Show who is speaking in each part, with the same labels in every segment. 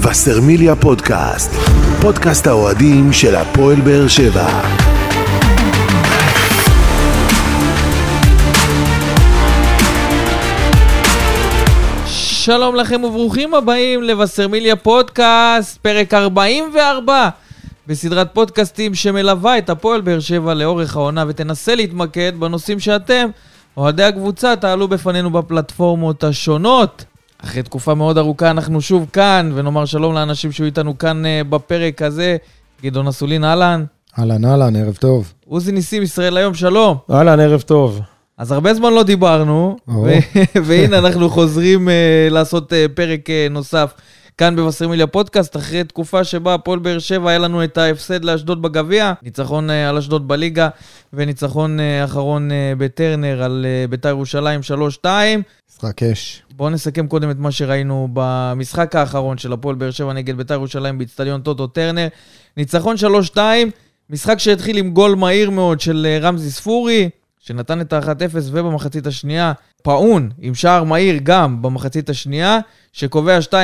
Speaker 1: וסרמיליה פודקאסט, פודקאסט האוהדים של הפועל באר שבע.
Speaker 2: שלום לכם וברוכים הבאים לבשרמיליה פודקאסט, פרק 44 בסדרת פודקאסטים שמלווה את הפועל באר שבע לאורך העונה ותנסה להתמקד בנושאים שאתם, אוהדי הקבוצה, תעלו בפנינו בפלטפורמות השונות. אחרי תקופה מאוד ארוכה אנחנו שוב כאן, ונאמר שלום לאנשים שהיו איתנו כאן אה, בפרק הזה. גדעון אסולין, אהלן.
Speaker 3: אהלן אהלן, ערב טוב.
Speaker 2: עוזי ניסים, ישראל היום, שלום.
Speaker 4: אהלן, ערב טוב.
Speaker 2: אז הרבה זמן לא דיברנו,
Speaker 3: או.
Speaker 2: ו- והנה אנחנו חוזרים אה, לעשות אה, פרק אה, נוסף כאן בבשרמיליה פודקאסט, אחרי תקופה שבה הפועל באר שבע היה לנו את ההפסד לאשדוד בגביע, ניצחון אה, על אשדוד בליגה, וניצחון אה, אחרון אה, בטרנר על אה, בית"ר ירושלים 3-2.
Speaker 3: משחק אש.
Speaker 2: בואו נסכם קודם את מה שראינו במשחק האחרון של הפועל באר שבע נגד בית"ר ירושלים באיצטדיון טוטו טרנר. ניצחון 3-2, משחק שהתחיל עם גול מהיר מאוד של אה, רמזי ספורי, שנתן את ה-1-0 ובמחצית השנייה, פאון עם שער מהיר גם במחצית השנייה, שקובע 2-0,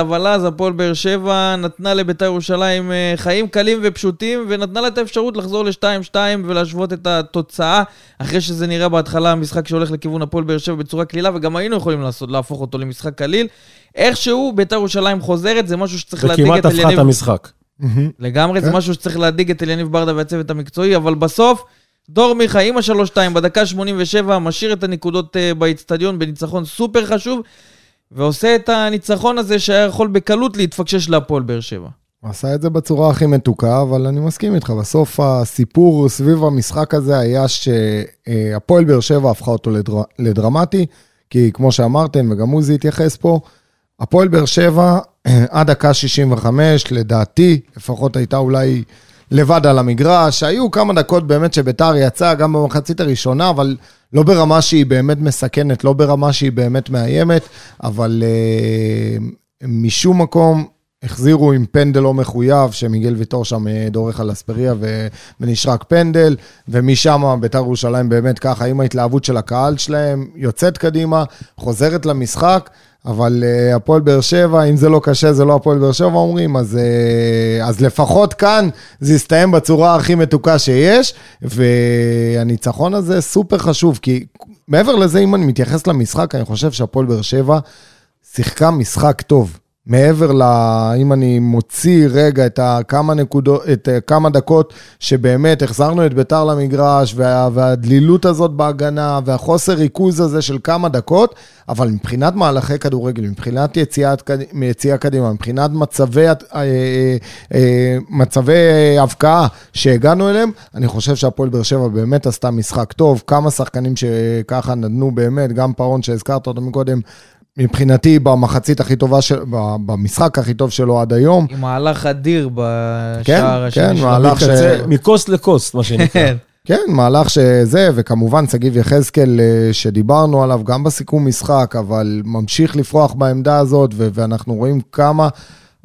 Speaker 2: אבל אז הפועל באר שבע נתנה לבית"ר ירושלים אה, חיים קלים ופשוטים, ונתנה לה את האפשרות לחזור ל-2-2 ולהשוות את התוצאה, אחרי שזה נראה בהתחלה משחק שהולך לכיוון הפועל באר שבע בצורה קלילה, וגם היינו יכולים לעשות, להפוך אותו למשחק קליל. איכשהו בית"ר ירושלים חוזרת, זה משהו שצריך להדאיג את
Speaker 4: וכמעט
Speaker 2: אליניב.
Speaker 4: הפכה את המשחק.
Speaker 2: לגמרי, זה
Speaker 3: כן.
Speaker 2: משהו שצריך להדאיג את אליניב ברדה והצוות המקצועי, אבל בסוף, דור מיכה עם ה-3-2 בדקה 87, משאיר את הנקודות אה, באיצטדיון בניצחון סופר חשוב, ועושה את הניצחון הזה שהיה יכול בקלות להתפקשש להפועל באר שבע.
Speaker 3: הוא עשה את זה בצורה הכי מתוקה, אבל אני מסכים איתך, בסוף הסיפור סביב המשחק הזה היה שהפועל באר שבע הפכה אותו לדר... לדרמטי, כי כמו שאמרתם, וגם עוזי התייחס פה, הפועל באר שבע עד דקה 65, לדעתי, לפחות הייתה אולי לבד על המגרש. היו כמה דקות באמת שביתר יצאה, גם במחצית הראשונה, אבל לא ברמה שהיא באמת מסכנת, לא ברמה שהיא באמת מאיימת, אבל אה, משום מקום החזירו עם פנדל לא מחויב, שמיגל ויטור שם אה, דורך על אספריה ו... ונשרק פנדל, ומשם ביתר ירושלים באמת ככה, עם ההתלהבות של הקהל שלהם, יוצאת קדימה, חוזרת למשחק. אבל אה, הפועל באר שבע, אם זה לא קשה, זה לא הפועל באר שבע אומרים, אז, אה, אז לפחות כאן זה יסתיים בצורה הכי מתוקה שיש, והניצחון הזה סופר חשוב, כי מעבר לזה, אם אני מתייחס למשחק, אני חושב שהפועל באר שבע שיחקה משחק טוב. מעבר ל... אם אני מוציא רגע את הכמה נקודות, את אה, כמה דקות שבאמת החזרנו את ביתר למגרש, וה, והדלילות הזאת בהגנה, והחוסר ריכוז הזה של כמה דקות, אבל מבחינת מהלכי כדורגל, מבחינת יציאת, קד- יציאה קדימה, מבחינת מצבי, הת- אה, אה, אה, מצבי אה, הבקעה שהגענו אליהם, אני חושב שהפועל באר שבע באמת עשתה משחק טוב. כמה שחקנים שככה נדנו באמת, גם פאון שהזכרת אותו מקודם, מבחינתי במחצית הכי טובה, של, ב- במשחק הכי טוב שלו עד היום.
Speaker 2: עם מהלך אדיר
Speaker 3: כן,
Speaker 2: בשער השני
Speaker 3: כן,
Speaker 2: שלו.
Speaker 3: מהלך ש...
Speaker 4: מקצה- מכוס לכוס, מה שנקרא.
Speaker 2: כן.
Speaker 3: כן, מהלך שזה, וכמובן שגיב יחזקאל אה, שדיברנו עליו גם בסיכום משחק, אבל ממשיך לפרוח בעמדה הזאת, ו- ואנחנו רואים כמה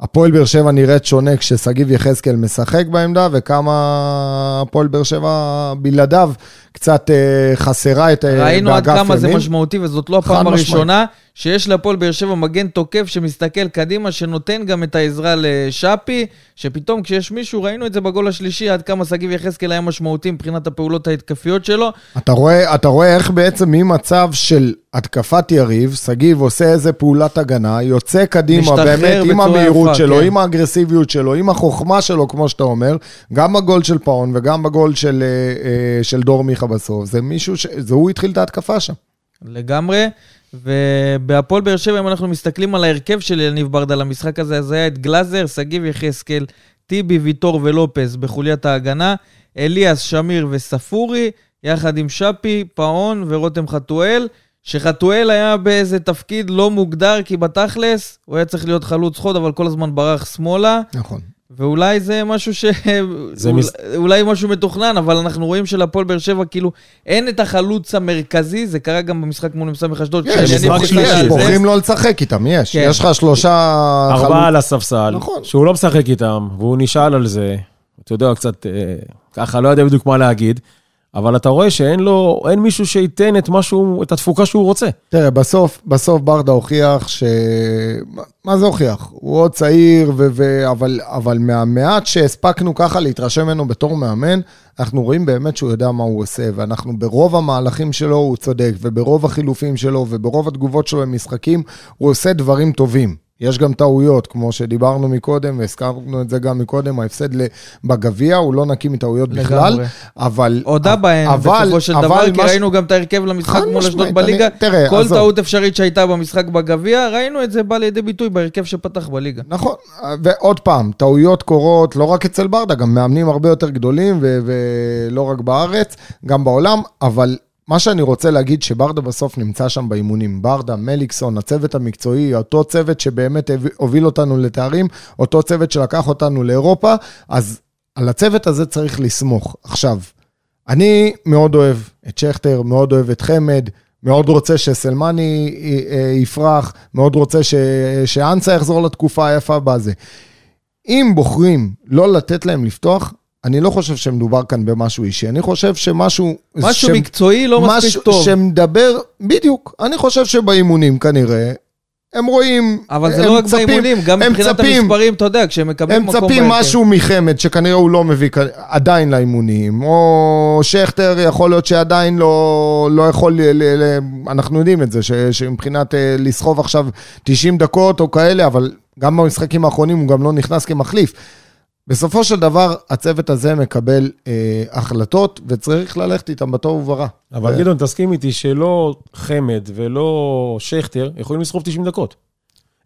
Speaker 3: הפועל באר שבע נראית שונה כששגיב יחזקאל משחק בעמדה, וכמה הפועל באר שבע בלעדיו קצת אה, חסרה את אה, באגף ימין.
Speaker 2: ראינו עד כמה זה משמעותי, וזאת לא הפעם
Speaker 3: חד משמעית.
Speaker 2: הראשונה שיש להפועל באר שבע מגן תוקף שמסתכל קדימה, שנותן גם את העזרה לשאפי, שפתאום כשיש מישהו, ראינו את זה בגול השלישי, עד כמה שגיב יחזקאל היה משמעותי מבחינת הפעולות ההתקפיות שלו.
Speaker 3: אתה רואה, אתה רואה איך בעצם ממצב של התקפת יריב, שגיב עושה איזה פעולת הגנה, יוצא קדימה
Speaker 2: משתחרר
Speaker 3: באמת עם
Speaker 2: בצורה
Speaker 3: המהירות
Speaker 2: יפה,
Speaker 3: שלו,
Speaker 2: כן.
Speaker 3: עם האגרסיביות שלו, עם החוכמה שלו, כמו שאתה אומר, גם בגול של פאון וגם בגול של, אה, אה, של דור מיכה בסוף. זה מישהו ש... זה הוא התחיל את ההתקפה שם.
Speaker 2: לגמרי. ובהפועל באר שבע, אם אנחנו מסתכלים על ההרכב של יניב ברדה למשחק הזה, אז היה את גלאזר, שגיב יחזקאל, טיבי, ויטור ולופס בחוליית ההגנה, אליאס, שמיר וספורי, יחד עם שפי, פאון ורותם חתואל, שחתואל היה באיזה תפקיד לא מוגדר, כי בתכלס הוא היה צריך להיות חלוץ חוד, אבל כל הזמן ברח שמאלה.
Speaker 3: נכון.
Speaker 2: ואולי זה משהו ש...
Speaker 4: זה
Speaker 2: אול-
Speaker 4: מס-
Speaker 2: אולי משהו מתוכנן, אבל אנחנו רואים שלפועל באר שבע, כאילו, אין את החלוץ המרכזי, זה קרה גם במשחק מול מס"ח אשדוד.
Speaker 3: כן, יש,
Speaker 2: כשאני
Speaker 4: משחק
Speaker 2: מסתכל
Speaker 4: שלישי.
Speaker 2: על זה-
Speaker 3: בוחרים לא לשחק איתם, יש.
Speaker 2: כן.
Speaker 3: יש לך שלושה...
Speaker 4: ארבעה על הספסל,
Speaker 3: נכון.
Speaker 4: שהוא לא משחק איתם, והוא נשאל על זה. אתה יודע, קצת אה, ככה, לא יודע בדיוק מה להגיד. אבל אתה רואה שאין לו, אין מישהו שייתן את משהו, את התפוקה שהוא רוצה.
Speaker 3: תראה, בסוף, בסוף ברדה הוכיח ש... מה- מה זה הוכיח? הוא עוד צעיר, ו... ו... אבל, אבל מהמעט שהספקנו ככה להתרשם ממנו בתור מאמן, אנחנו רואים באמת שהוא יודע מה הוא עושה, ואנחנו ברוב המהלכים שלו הוא צודק, וברוב החילופים שלו, וברוב התגובות שלו למשחקים, הוא עושה דברים טובים. יש גם טעויות, כמו שדיברנו מקודם, והזכרנו את זה גם מקודם, ההפסד בגביע, הוא לא נקי מטעויות בכלל,
Speaker 2: לגמרי.
Speaker 3: אבל...
Speaker 2: הודה בהם
Speaker 3: אבל-
Speaker 2: בסופו של דבר,
Speaker 3: אבל
Speaker 2: כי
Speaker 3: מה ש-
Speaker 2: ראינו גם את ההרכב למשחק
Speaker 3: חד
Speaker 2: מול אשדוד
Speaker 3: משמעית,
Speaker 2: בליגה.
Speaker 3: אני- תראה,
Speaker 2: כל
Speaker 3: עזוב.
Speaker 2: טעות אפשרית שהייתה במשחק בגביע, ראינו את זה בא לידי ביטוי בהרכב שפתח בליגה.
Speaker 3: נכון, ועוד פעם, טעויות קורות לא רק אצל ברדה, גם מאמנים הרבה יותר גדולים, ו- ולא רק בארץ, גם בעולם, אבל מה שאני רוצה להגיד, שברדה בסוף נמצא שם באימונים. ברדה, מליקסון, הצוות המקצועי, אותו צוות שבאמת הביא- הוביל אותנו לתארים, אותו צוות שלקח אותנו לאירופה, אז על הצוות הזה צריך לסמוך. עכשיו, אני מאוד אוהב את שכטר, מאוד אוהב את חמד, מאוד רוצה שסלמני אה, אה, יפרח, מאוד רוצה ש... שאנסה יחזור לתקופה היפה בזה. אם בוחרים לא לתת להם לפתוח, אני לא חושב שמדובר כאן במשהו אישי, אני חושב שמשהו...
Speaker 2: משהו
Speaker 3: שם-
Speaker 2: מקצועי לא מספיק
Speaker 3: משהו
Speaker 2: טוב.
Speaker 3: שמדבר, בדיוק, אני חושב שבאימונים כנראה, הם רואים,
Speaker 2: אבל זה
Speaker 3: הם
Speaker 2: לא רק
Speaker 3: צפים-
Speaker 2: באימונים, גם
Speaker 3: הם
Speaker 2: מבחינת
Speaker 3: צפים-
Speaker 2: המספרים, אתה יודע, כשהם מקבלים
Speaker 3: הם
Speaker 2: מקום
Speaker 3: מצפים משהו מחמד, שכנראה הוא לא מביא כ- עדיין לאימונים, או שכטר, יכול להיות שעדיין לא, לא יכול, ל, ל, ל, אנחנו יודעים את זה, ש, שמבחינת אה, לסחוב עכשיו 90 דקות או כאלה, אבל גם במשחקים האחרונים הוא גם לא נכנס כמחליף. בסופו של דבר, הצוות הזה מקבל אה, החלטות, וצריך ללכת איתם אה, בטוב וברע.
Speaker 4: אבל
Speaker 3: כן.
Speaker 4: גדעון, תסכים איתי שלא חמד ולא שכטר יכולים לסחוב 90 דקות.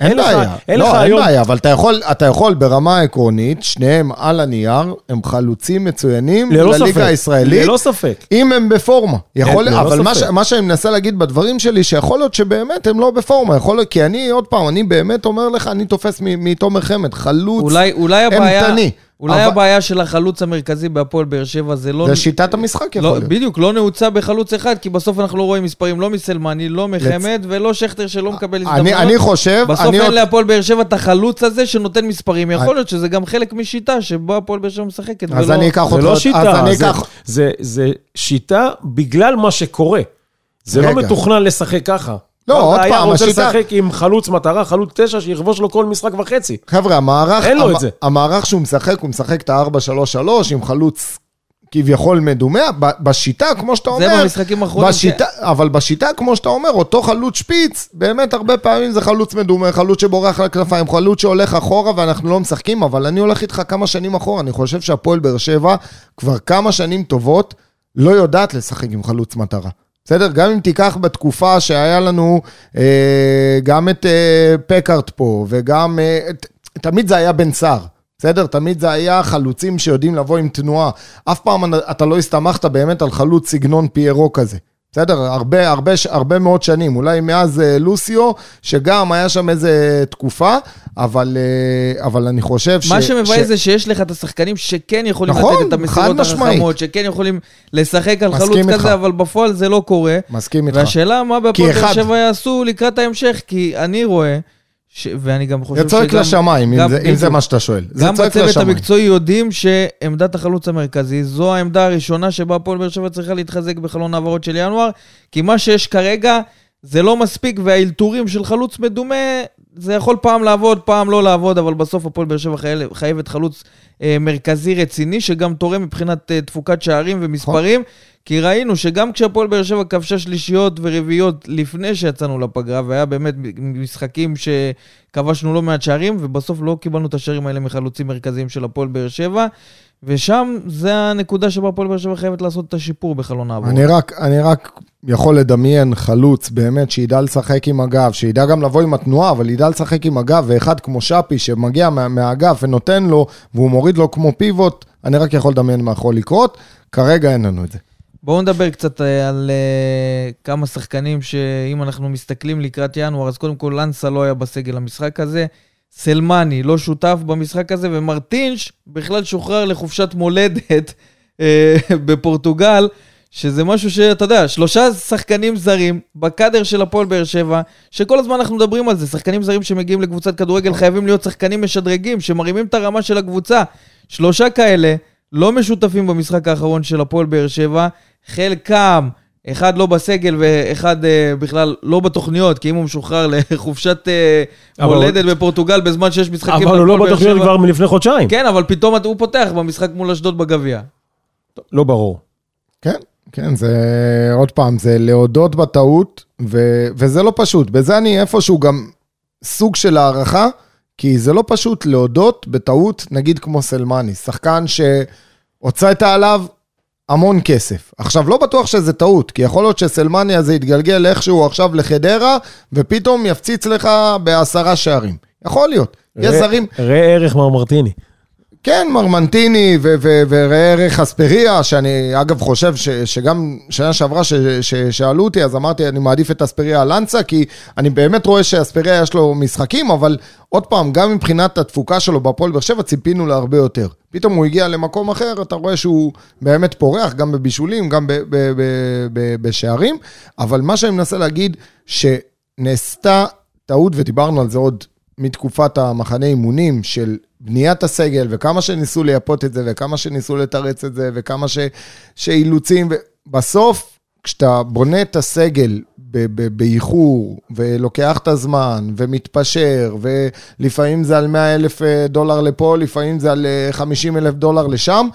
Speaker 3: אין
Speaker 4: אין לך-
Speaker 3: בעיה,
Speaker 4: אין לך
Speaker 3: לא, אין
Speaker 4: היום-
Speaker 3: בעיה, אבל אתה יכול, אתה יכול ברמה עקרונית, שניהם על הנייר, הם חלוצים מצוינים
Speaker 4: ללא ספק.
Speaker 3: לליגה הישראלית,
Speaker 4: ללא ספק.
Speaker 3: אם הם בפורמה. יכול,
Speaker 4: ללא
Speaker 3: אבל מה, ש,
Speaker 4: ספק.
Speaker 3: מה שאני מנסה להגיד בדברים שלי, שיכול להיות שבאמת הם לא בפורמה. יכול להיות, כי אני, עוד פעם, אני באמת אומר לך, אני תופס מ- מתומר חמד, חלוץ.
Speaker 2: אולי, אולי הבעיה,
Speaker 3: אימתני.
Speaker 2: אולי
Speaker 3: אבל-
Speaker 2: הבעיה של החלוץ המרכזי בהפועל באר שבע זה לא...
Speaker 3: זה שיטת המשחק יכול
Speaker 2: לא,
Speaker 3: להיות.
Speaker 2: בדיוק, לא נעוצה בחלוץ אחד, כי בסוף אנחנו לא רואים מספרים לא מסלמני, לא מחמד ולא שכטר שלא מקבל הזדמנות.
Speaker 3: אני, אני חושב,
Speaker 2: בסוף
Speaker 3: אני
Speaker 2: אין
Speaker 3: עוד-
Speaker 2: להפועל באר שבע את החלוץ הזה שנותן מספרים.
Speaker 3: אני-
Speaker 2: יכול להיות שזה גם חלק משיטה שבה הפועל באר שבע משחקת.
Speaker 3: אז
Speaker 2: ולא-
Speaker 3: אני אקח אותך,
Speaker 4: זה לא
Speaker 3: עוד- אז
Speaker 4: שיטה,
Speaker 3: אני
Speaker 4: זה-
Speaker 3: אקח,
Speaker 4: זה- זה שיטה בגלל מה שקורה. זה לא
Speaker 3: רגע.
Speaker 4: מתוכנן לשחק ככה.
Speaker 3: לא, עוד
Speaker 4: היה
Speaker 3: פעם,
Speaker 4: רוצה
Speaker 3: השיטה-
Speaker 4: לשחק עם חלוץ מטרה, חלוץ תשע, שיכבוש לו כל משחק וחצי.
Speaker 3: חבר'ה, המערך,
Speaker 4: אין לו
Speaker 3: המ-
Speaker 4: את זה.
Speaker 3: המערך שהוא משחק, הוא משחק את ה-4-3-3 עם חלוץ כביכול מדומה, ב- בשיטה, כמו שאתה
Speaker 2: זה
Speaker 3: אומר,
Speaker 2: במשחקים האחרונים.
Speaker 3: בשיטה, אבל בשיטה, כמו שאתה אומר, אותו חלוץ שפיץ, באמת הרבה פעמים זה חלוץ מדומה, חלוץ שבורח לכנפיים, חלוץ שהולך אחורה ואנחנו לא משחקים, אבל אני הולך איתך כמה שנים אחורה, אני חושב שהפועל באר שבע כבר כמה שנים טובות לא יודעת לשחק עם חלוץ מטרה. בסדר? גם אם תיקח בתקופה שהיה לנו אה, גם את אה, פקארט פה, וגם... אה, ת, תמיד זה היה בן סער. בסדר? תמיד זה היה חלוצים שיודעים לבוא עם תנועה. אף פעם אתה לא הסתמכת באמת על חלוץ סגנון פיירו כזה. בסדר? הרבה, הרבה, הרבה מאוד שנים. אולי מאז אה, לוסיו, שגם היה שם איזה תקופה, אבל, אה, אבל אני חושב ש...
Speaker 2: מה שמבאס
Speaker 3: ש-
Speaker 2: זה שיש לך את השחקנים שכן יכולים
Speaker 3: נכון,
Speaker 2: לתת את המסירות
Speaker 3: חד משמעית.
Speaker 2: החכמות, שכן יכולים לשחק על
Speaker 3: מסכים
Speaker 2: חלוץ
Speaker 3: איתך.
Speaker 2: כזה, אבל בפועל זה לא קורה.
Speaker 3: מסכים איתך.
Speaker 2: והשאלה מה
Speaker 3: כן. כי
Speaker 2: בהפועל באר
Speaker 3: אחד-
Speaker 2: שבע יעשו לקראת ההמשך, כי אני רואה, ש- ואני גם חושב
Speaker 3: זה צועק לשמיים, אם
Speaker 2: גם-
Speaker 3: זה- אם זה
Speaker 2: בדיוק.
Speaker 3: מה שאתה שואל. זה
Speaker 2: גם
Speaker 3: צועק
Speaker 2: בצוות
Speaker 3: לשמיים.
Speaker 2: המקצועי יודעים שעמדת החלוץ המרכזי זו העמדה הראשונה שבה הפועל באר שבע צריכה להתחזק בחלון העברות של ינואר, כי מה שיש כרגע זה לא מספיק, והאלתורים של חלוץ מדומה, זה יכול פעם לעבוד, פעם לא לעבוד, אבל בסוף הפועל באר שבע חייל- חייבת חלוץ אה, מרכזי רציני, שגם תורם מבחינת אה, תפוקת שערים ומספרים. כי ראינו שגם כשהפועל באר שבע כבשה שלישיות ורביעיות לפני שיצאנו לפגרה, והיה באמת משחקים שכבשנו לא מעט שערים, ובסוף לא קיבלנו את השערים האלה מחלוצים מרכזיים של הפועל באר שבע, ושם זה הנקודה שבה הפועל באר שבע חייבת לעשות את השיפור בחלון העבור.
Speaker 3: אני רק, אני רק יכול לדמיין חלוץ באמת שידע לשחק עם הגב, שידע גם לבוא עם התנועה, אבל ידע לשחק עם הגב, ואחד כמו שפי שמגיע מה, מהגב ונותן לו, והוא מוריד לו כמו פיבוט, אני רק יכול לדמיין מה יכול לקרות, כרגע אין לנו את זה.
Speaker 2: בואו נדבר קצת אה, על אה, כמה שחקנים שאם אנחנו מסתכלים לקראת ינואר, אז קודם כל לנסה לא היה בסגל המשחק הזה, סלמני לא שותף במשחק הזה, ומרטינש בכלל שוחרר לחופשת מולדת אה, בפורטוגל, שזה משהו שאתה יודע, שלושה שחקנים זרים בקאדר של הפועל באר שבע, שכל הזמן אנחנו מדברים על זה, שחקנים זרים שמגיעים לקבוצת כדורגל חייבים להיות שחקנים משדרגים, שמרימים את הרמה של הקבוצה. שלושה כאלה. לא משותפים במשחק האחרון של הפועל באר שבע. חלקם, אחד לא בסגל ואחד אה, בכלל לא בתוכניות, כי אם הוא משוחרר לחופשת אה,
Speaker 4: אבל-
Speaker 2: מולדת בפורטוגל בזמן שיש משחקים...
Speaker 4: אבל הוא לא
Speaker 2: להפועל באר
Speaker 4: בתוכניות
Speaker 2: שבע-
Speaker 4: כבר מלפני חודשיים.
Speaker 2: כן, אבל פתאום הוא פותח במשחק מול אשדוד בגביע.
Speaker 4: לא ברור.
Speaker 3: כן, כן, זה עוד פעם, זה להודות בטעות, ו, וזה לא פשוט. בזה אני איפשהו גם סוג של הערכה, כי זה לא פשוט להודות בטעות, נגיד כמו סלמני, שחקן שהוצאת עליו המון כסף. עכשיו, לא בטוח שזה טעות, כי יכול להיות שסלמני הזה יתגלגל איכשהו עכשיו לחדרה, ופתאום יפציץ לך בעשרה שערים. יכול להיות. יש
Speaker 4: ראה-
Speaker 3: זרים,
Speaker 4: ראה ערך מר מרטיני.
Speaker 3: כן, מרמנטיני ו- ו- וראה ערך אספריה, שאני אגב חושב ש- שגם שנה שעברה ש- ש- שאלו אותי, אז אמרתי, אני מעדיף את אספריה על אנסה, כי אני באמת רואה שאספריה יש לו משחקים, אבל עוד פעם, גם מבחינת התפוקה שלו בהפועל באר שבע, ציפינו להרבה יותר. פתאום הוא הגיע למקום אחר, אתה רואה שהוא באמת פורח, גם בבישולים, גם ב- ב- ב- ב- בשערים, אבל מה שאני מנסה להגיד, שנעשתה טעות, ודיברנו על זה עוד מתקופת המחנה אימונים של בניית הסגל, וכמה שניסו לייפות את זה, וכמה שניסו לתרץ את זה, וכמה ש... שאילוצים, ו... בסוף, כשאתה בונה את הסגל ב- ב- באיחור, ולוקח את הזמן, ומתפשר, ולפעמים זה על 100 אלף אה, דולר לפה, לפעמים זה על 50 אלף דולר לשם,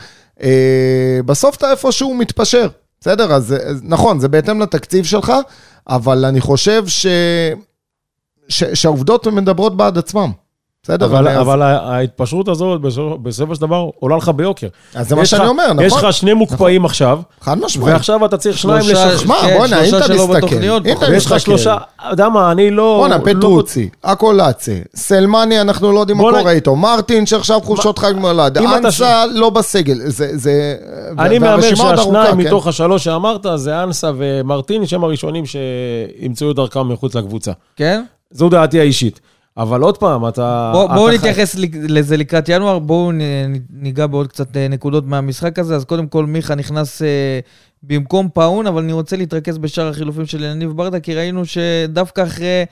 Speaker 3: אה, בסוף אתה איפשהו מתפשר, בסדר? אז, אז נכון, זה בהתאם לתקציב שלך, אבל אני חושב ש... ש... שהעובדות מדברות בעד עצמם. בסדר?
Speaker 4: אבל
Speaker 3: אני- אז-
Speaker 4: אבל ה- ההתפשרות הזאת בסופו- בסופו של דבר עולה לך ביוקר.
Speaker 3: אז זה מה
Speaker 4: יש
Speaker 3: שאני
Speaker 4: לך-
Speaker 3: אומר, נכון?
Speaker 4: יש לך שני מוקפאים עכשיו,
Speaker 3: חד משמעית.
Speaker 4: ועכשיו אתה צריך שניים
Speaker 2: שלושה-
Speaker 4: לשחרר.
Speaker 3: שמע,
Speaker 2: כן,
Speaker 3: בואנה, אם
Speaker 2: שלושה
Speaker 3: אתה
Speaker 2: שלא
Speaker 3: מסתכל,
Speaker 2: בתוכניות,
Speaker 3: אם אתה
Speaker 2: פחות.
Speaker 4: ויש לך
Speaker 3: מסתכל.
Speaker 4: שלושה, אתה יודע מה, אני לא...
Speaker 3: כן, בואנה,
Speaker 4: לא-
Speaker 3: פטרוצי, אקולצה, סלמני, אנחנו לא יודעים מה
Speaker 4: בואנה-
Speaker 3: קורה איתו, מרטין שעכשיו חופשות חג מולד,
Speaker 4: אם אתה
Speaker 3: אנסה לא בסגל, זה- זה... והרשימה
Speaker 4: אני מהמר
Speaker 3: עוד ארוכה,
Speaker 4: שהשניים
Speaker 3: כן?
Speaker 4: מתוך השלוש שאמרת, זה אנסה ומרטיני, שהם הראשונים שימצאו את דרכם מחוץ לקבוצה.
Speaker 2: כן?
Speaker 4: זו דעתי האישית. אבל עוד פעם, אתה...
Speaker 2: בוא-
Speaker 4: אתה
Speaker 2: בואו
Speaker 4: חי-
Speaker 2: נתייחס לק- לזה לקראת ינואר, בואו נ- נ- ניגע בעוד קצת אה, נקודות מהמשחק הזה. אז קודם כל, מיכה נכנס אה, במקום פאון, אבל אני רוצה להתרכז בשאר החילופים של יניב ברדה, כי ראינו שדווקא אחרי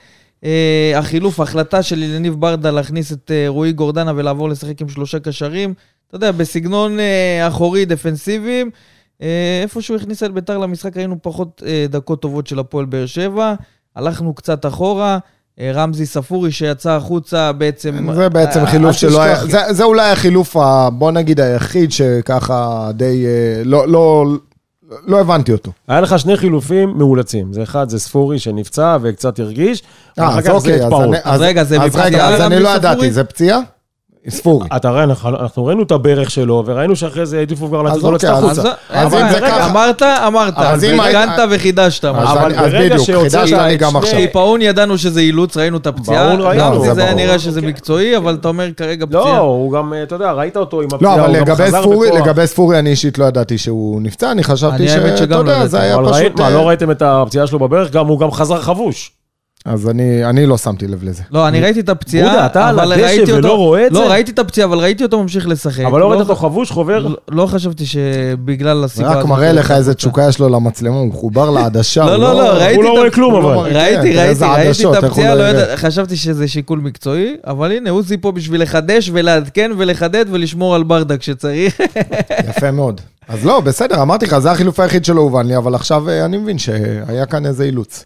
Speaker 2: אה, החילוף, ההחלטה של יניב ברדה להכניס את אה, רועי גורדנה ולעבור לשחק עם שלושה קשרים, אתה יודע, בסגנון אה, אחורי דפנסיביים. אה, איפה שהוא הכניס את ביתר למשחק, ראינו פחות אה, דקות טובות של הפועל באר שבע. הלכנו קצת אחורה, אה, רמזי ספורי שיצא החוצה בעצם...
Speaker 3: זה בעצם
Speaker 2: אה,
Speaker 3: חילוף
Speaker 4: אל
Speaker 3: שלא היה,
Speaker 4: תשכח.
Speaker 3: זה- זה אולי החילוף, ה- בוא נגיד, היחיד שככה די, אה, לא- לא לא הבנתי אותו.
Speaker 4: היה לך שני חילופים מאולצים. זה אחד, זה ספורי שנפצע וקצת הרגיש,
Speaker 3: אה,
Speaker 4: ואחר
Speaker 3: אז
Speaker 4: כך זה
Speaker 3: אוקיי,
Speaker 4: את
Speaker 3: אז
Speaker 4: פאול.
Speaker 3: אני-
Speaker 2: אז רגע, זה
Speaker 3: אז
Speaker 2: מבחינת
Speaker 3: רגע, אז
Speaker 2: יאללה,
Speaker 3: אני לא
Speaker 2: מי ספורי?
Speaker 3: ידעתי, זה פציעה? ספורי.
Speaker 4: אתה רואה, אנחנו- אנחנו ראינו את הברך שלו, וראינו שאחרי זה העדיפו כבר לתת לו
Speaker 3: אוקיי,
Speaker 4: לצאת
Speaker 3: אז-
Speaker 4: החוצה.
Speaker 2: אז
Speaker 3: אז
Speaker 2: אה,
Speaker 4: אם זה
Speaker 2: רגע,
Speaker 3: ככה-
Speaker 2: אמרת, אמרת.
Speaker 3: אז אם
Speaker 2: הגנת וחידשת.
Speaker 3: אז
Speaker 4: אבל
Speaker 3: אני- אז
Speaker 4: ברגע
Speaker 3: בדיוק,
Speaker 4: שהוצאת
Speaker 3: חידשת לי
Speaker 4: את
Speaker 3: גם
Speaker 4: שני-
Speaker 3: עכשיו. לא,
Speaker 2: קיפאון ידענו שזה אילוץ, ראינו את הפציעה.
Speaker 4: ברור, ראינו. אוקיי.
Speaker 2: גם
Speaker 3: זה
Speaker 2: זה היה
Speaker 3: ברור.
Speaker 2: נראה שזה מקצועי, אבל אתה אומר כרגע
Speaker 4: לא,
Speaker 2: פציעה.
Speaker 4: הוא גם, אתה יודע, ראית אותו עם הפציעה,
Speaker 3: לא,
Speaker 4: הוא
Speaker 3: אבל
Speaker 4: גם
Speaker 3: לגבי
Speaker 4: חזר
Speaker 3: ספורי,
Speaker 4: בכוח.
Speaker 3: לגבי ספורי אני אישית לא ידעתי שהוא נפצע, אני חשבתי
Speaker 2: אני
Speaker 3: ש...
Speaker 2: האמת
Speaker 3: אתה
Speaker 2: שגם לא
Speaker 3: יודע,
Speaker 2: ידעתי,
Speaker 3: זה היה
Speaker 4: אבל ראית,
Speaker 3: פשוט...
Speaker 4: מה,
Speaker 3: אה,
Speaker 4: לא ראיתם את הפציעה שלו בברך? גם הוא גם חזר חבוש.
Speaker 3: אז אני אני לא שמתי לב לזה.
Speaker 2: לא, אני ראיתי את
Speaker 4: בודה,
Speaker 2: הפציעה,
Speaker 4: אתה על
Speaker 2: אבל
Speaker 4: הדשא
Speaker 2: ראיתי
Speaker 4: ולא
Speaker 2: אותו...
Speaker 4: רואה את זה?
Speaker 2: לא, ראיתי את הפציעה, אבל ראיתי אותו ממשיך
Speaker 3: אה,
Speaker 2: לשחק.
Speaker 4: אבל לא ראית אותו חבוש, חובר?
Speaker 2: לא חשבתי שבגלל
Speaker 3: זה
Speaker 2: הסיבה...
Speaker 3: רק
Speaker 2: הזאת-
Speaker 3: מראה לך איזה תשוקה יש לו למצלמה, הוא מחובר לעדשה.
Speaker 2: לא,
Speaker 3: הוא
Speaker 2: לא, לא, ראיתי
Speaker 4: הוא לא
Speaker 2: את
Speaker 4: רואה
Speaker 2: הפ-
Speaker 4: כלום,
Speaker 3: הוא לא
Speaker 4: אבל.
Speaker 3: מראה- כן,
Speaker 2: ראיתי,
Speaker 3: תראה
Speaker 2: ראיתי,
Speaker 3: איזה
Speaker 2: ראיתי
Speaker 3: עדשות,
Speaker 2: את
Speaker 3: איך הוא
Speaker 2: הפציעה,
Speaker 3: לא
Speaker 2: לא
Speaker 3: יראה.
Speaker 2: ידע, חשבתי שזה שיקול מקצועי, אבל הנה, עוזי פה בשביל לחדש ולעדכן ולחדד ולשמור על ברדה כשצריך.
Speaker 3: יפה מאוד. אז לא, בסדר, אמרתי לך, זה החילוף היחיד שלא הובן לי, אבל עכשיו אה, אני מבין שהיה כאן איזה אילוץ.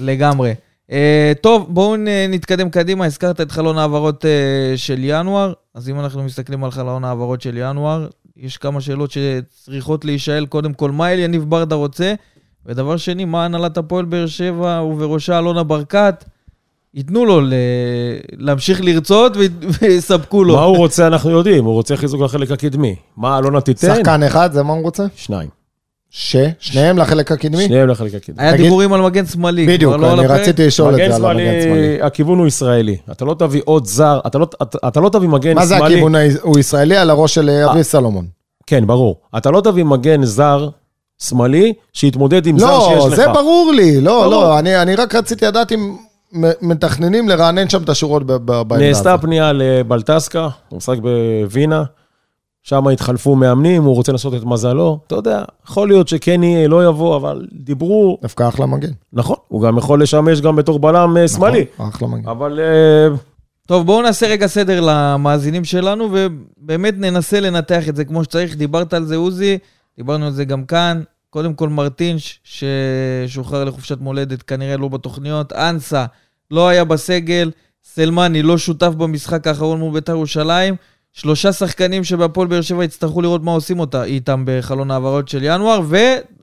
Speaker 2: לגמרי. אה, טוב, בואו נ- נתקדם קדימה, הזכרת את חלון ההעברות אה, של ינואר, אז אם אנחנו מסתכלים על חלון ההעברות של ינואר, יש כמה שאלות שצריכות להישאל, קודם כל, מה אל יניב ברדה רוצה? ודבר שני, מה הנהלת הפועל באר שבע ובראשה אלונה ברקת? ייתנו לו ל- להמשיך לרצות וית- ויספקו
Speaker 3: לא.
Speaker 2: לו.
Speaker 4: מה הוא רוצה, אנחנו יודעים, הוא רוצה חיזוק לחלק הקדמי. מה אלונה
Speaker 2: כן.
Speaker 4: תיתן?
Speaker 3: שחקן אחד, זה מה הוא רוצה?
Speaker 4: שניים.
Speaker 3: ש? שניהם לחלק הקדמי?
Speaker 4: שניהם לחלק הקדמי.
Speaker 2: היה
Speaker 3: תגיד-
Speaker 2: דיבורים על מגן שמאלי. כבר
Speaker 3: בדיוק,
Speaker 2: לא על
Speaker 3: אני
Speaker 2: הפרק.
Speaker 3: רציתי לשאול את
Speaker 4: מגן
Speaker 3: זה על המגן שמאלי.
Speaker 4: שמאלי, הכיוון הוא ישראלי. אתה לא תביא עוד זר, אתה לא- אתה- אתה לא תביא מגן שמאלי.
Speaker 3: מה זה הכיוון? ה- הוא ישראלי על הראש של אה, אביב סלומון.
Speaker 4: כן, ברור. אתה לא תביא מגן זר שמאלי שיתמודד עם זר שיש לך.
Speaker 3: לא, זה ברור לי. לא,
Speaker 4: ברור.
Speaker 3: לא, אני אני רק רציתי לדעת אם מ- מתכננים לרענן שם את השורות ב- ב- בעמדה
Speaker 4: נעשתה
Speaker 3: הזאת.
Speaker 4: פנייה לבלטסקה, הוא משחק בווינה, שם התחלפו מאמנים, הוא רוצה לנסות את מזלו. אתה יודע, יכול להיות שקני לא יבוא, אבל דיברו,
Speaker 3: דווקא אחלה מגן.
Speaker 4: נכון, הוא גם יכול לשמש גם בתור בלם אה, שמאלי.
Speaker 3: נכון, אחלה מגן.
Speaker 4: אבל אה,
Speaker 2: טוב, בואו נעשה רגע סדר למאזינים שלנו, ובאמת ננסה לנתח את זה כמו שצריך. דיברת על זה, עוזי, דיברנו על זה גם כאן. קודם כל מרטינש, ששוחרר לחופשת מולדת, כנראה לא בתוכניות. אנסה, לא היה בסגל. סלמני, לא שותף במשחק האחרון מול בית"ר ירושלים. שלושה שחקנים שבהפועל באר שבע יצטרכו לראות מה עושים אותה, איתם בחלון העברות של ינואר,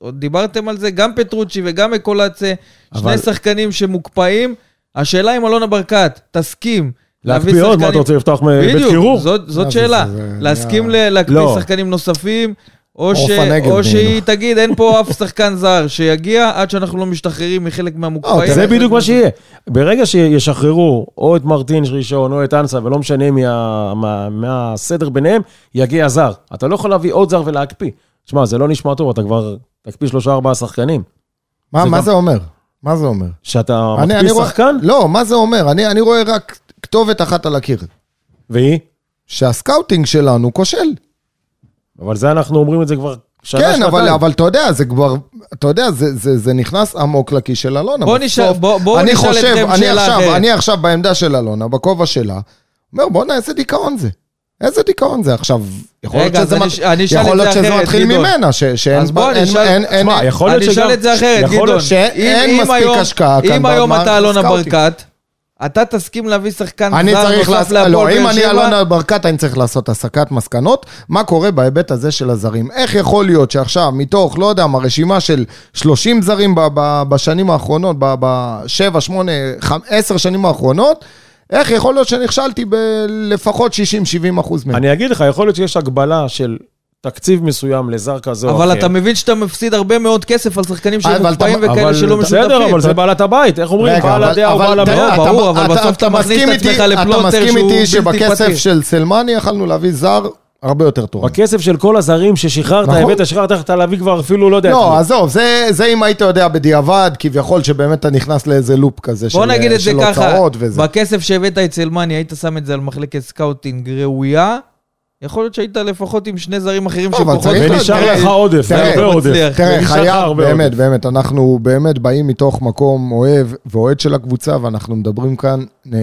Speaker 2: ודיברתם על זה, גם פטרוצ'י וגם מקולצה, אבל... שני
Speaker 4: אבל-
Speaker 2: שחקנים שמוקפאים. השאלה אם אלונה ברקת תסכים
Speaker 4: להקפיא עוד, מה אתה רוצה לפתוח מ- בית קירור?
Speaker 2: בדיוק, זאת-
Speaker 3: מה
Speaker 2: זאת
Speaker 3: זה,
Speaker 2: שאלה.
Speaker 3: אה, זה- זה
Speaker 2: להסכים
Speaker 3: נהיה-
Speaker 2: ל- להקפיא
Speaker 4: לא.
Speaker 2: שחקנים נוספים, או
Speaker 3: עוף
Speaker 2: ש-
Speaker 3: הנגב
Speaker 2: או
Speaker 3: נהיינו.
Speaker 2: שהיא תגיד, אין פה אף שחקן זר שיגיע עד שאנחנו לא משתחררים מחלק מהמוקפאים.
Speaker 4: זה בדיוק מה שיהיה. ברגע שישחררו או את מרטינש ראשון או את אנסה, ולא משנה מה- מה- מהסדר ביניהם, יגיע זר. אתה לא יכול להביא עוד זר ולהקפיא. תשמע, זה לא נשמע טוב, אתה כבר תקפיא שלושה ארבעה שחקנים.
Speaker 3: מה
Speaker 4: זה
Speaker 3: מה
Speaker 4: גם-
Speaker 3: זה אומר? מה זה אומר?
Speaker 4: שאתה
Speaker 3: אני- אני
Speaker 4: מקפיא
Speaker 3: רואה-
Speaker 4: שחקן,
Speaker 3: לא, מה זה אומר? אני אני רואה רק כתובת אחת על הקיר.
Speaker 4: והיא?
Speaker 3: שהסקאוטינג שלנו כושל.
Speaker 4: אבל זה אנחנו אומרים את זה כבר שנה,
Speaker 3: כן,
Speaker 4: שנתיים.
Speaker 3: אבל, אבל אתה יודע, זה כבר, אתה יודע, זה, זה, זה נכנס עמוק לכיס של אלונה.
Speaker 2: בוא
Speaker 3: בסוף,
Speaker 2: נשאל- בוא- בוא
Speaker 3: אני
Speaker 2: נשאל
Speaker 3: חושב,
Speaker 2: אתכם
Speaker 3: אני
Speaker 2: שאלה
Speaker 3: עכשיו,
Speaker 2: אחרת.
Speaker 3: אני עכשיו בעמדה של אלונה, בכובע שלה, אומר, בואנה, איזה דיכאון זה. איזה דיכאון זה עכשיו. יכול
Speaker 2: רגע,
Speaker 3: להיות שזה,
Speaker 2: אז אני
Speaker 3: מת-
Speaker 2: ש- אני אשאל
Speaker 3: יכול
Speaker 2: את
Speaker 3: להיות
Speaker 2: זה
Speaker 3: שזה
Speaker 2: אחרת,
Speaker 3: מתחיל
Speaker 2: גדעון.
Speaker 3: ממנה, ש- שאין
Speaker 2: אז בוא, אני
Speaker 3: אין-
Speaker 2: אשאל-
Speaker 3: אין- אין-
Speaker 4: תשמע, יכול להיות
Speaker 2: אני
Speaker 4: שגם...
Speaker 2: אשאל את זה אחרת,
Speaker 4: יכול
Speaker 2: גדעון.
Speaker 4: להיות ש-
Speaker 3: שאין
Speaker 2: אם- אם
Speaker 3: מספיק
Speaker 2: היום-
Speaker 3: השקעה כאן
Speaker 2: אם היום
Speaker 3: בהגמר
Speaker 2: אתה אלונה
Speaker 3: הסקאוטינג.
Speaker 2: ברקת, אתה תסכים להביא שחקן
Speaker 3: אני
Speaker 2: זר
Speaker 3: צריך
Speaker 2: נוסף
Speaker 3: לעשות,
Speaker 2: להפועל
Speaker 3: לא, אם
Speaker 2: באר
Speaker 3: אני
Speaker 2: שבע?
Speaker 3: אלונה ברקת, אני צריך לעשות הסקת מסקנות, מה קורה בהיבט הזה של הזרים. איך יכול להיות שעכשיו, מתוך, לא יודע מה, רשימה של 30 זרים ב- ב- בשנים האחרונות, ב-7, 8, 10 שנים האחרונות, איך יכול להיות שנכשלתי בלפחות 60-70 אחוז מהם?
Speaker 4: אני אגיד לך, יכול להיות שיש הגבלה של תקציב מסוים לזר כזה או אחר.
Speaker 2: אבל אתה מבין שאתה מפסיד הרבה מאוד כסף על שחקנים שהם
Speaker 3: אבל אתה-
Speaker 2: מוקפאים וכאלה
Speaker 4: אבל-
Speaker 2: שלא משותפים.
Speaker 4: בסדר, אבל זה בעלת הבית, איך אומרים?
Speaker 3: רגע,
Speaker 4: בעל
Speaker 3: אבל-
Speaker 4: הדעה הוא
Speaker 3: אבל
Speaker 4: בעל
Speaker 3: תראה,
Speaker 4: הבית.
Speaker 2: לא,
Speaker 3: אתה-
Speaker 2: ברור, אבל
Speaker 3: אתה-
Speaker 2: בסוף אתה מכניס את
Speaker 3: איתי-
Speaker 2: עצמך לפלונטר
Speaker 3: אתה מסכים
Speaker 2: שהוא
Speaker 3: איתי
Speaker 2: בלתי
Speaker 3: שבכסף
Speaker 2: פתיר.
Speaker 3: של סלמני יכלנו להביא זר הרבה יותר תורן.
Speaker 4: בכסף של כל הזרים ששחררת,
Speaker 3: נכון.
Speaker 4: הבאת, שחררת, איך אתה להביא כבר אפילו, לא יודע. את מי.
Speaker 3: לא, עזוב, זה, זה אם היית יודע בדיעבד, כביכול שבאמת אתה נכנס לאיזה לופ כזה של, אה,
Speaker 2: בוא נגיד את זה
Speaker 3: של
Speaker 2: ככה,
Speaker 3: הוצאות וזה.
Speaker 2: בכסף שהבאת אצל מאני, היית שם את זה על מחלקת סקאוטינג ראויה, יכול להיות שהיית לפחות עם שני זרים אחרים
Speaker 3: לא, אבל
Speaker 2: שפחות...
Speaker 3: צריך
Speaker 4: ונשאר
Speaker 3: תראה,
Speaker 4: לך עודף,
Speaker 3: תראה,
Speaker 4: הרבה עודף.
Speaker 2: מצליח.
Speaker 3: תראה,
Speaker 4: ונשאר לך
Speaker 3: חייב,
Speaker 4: הרבה
Speaker 3: באמת,
Speaker 4: עודף.
Speaker 3: באמת, אנחנו באמת באים מתוך מקום אוהב ואוהד של הקבוצה, ואנחנו מדברים כאן אה,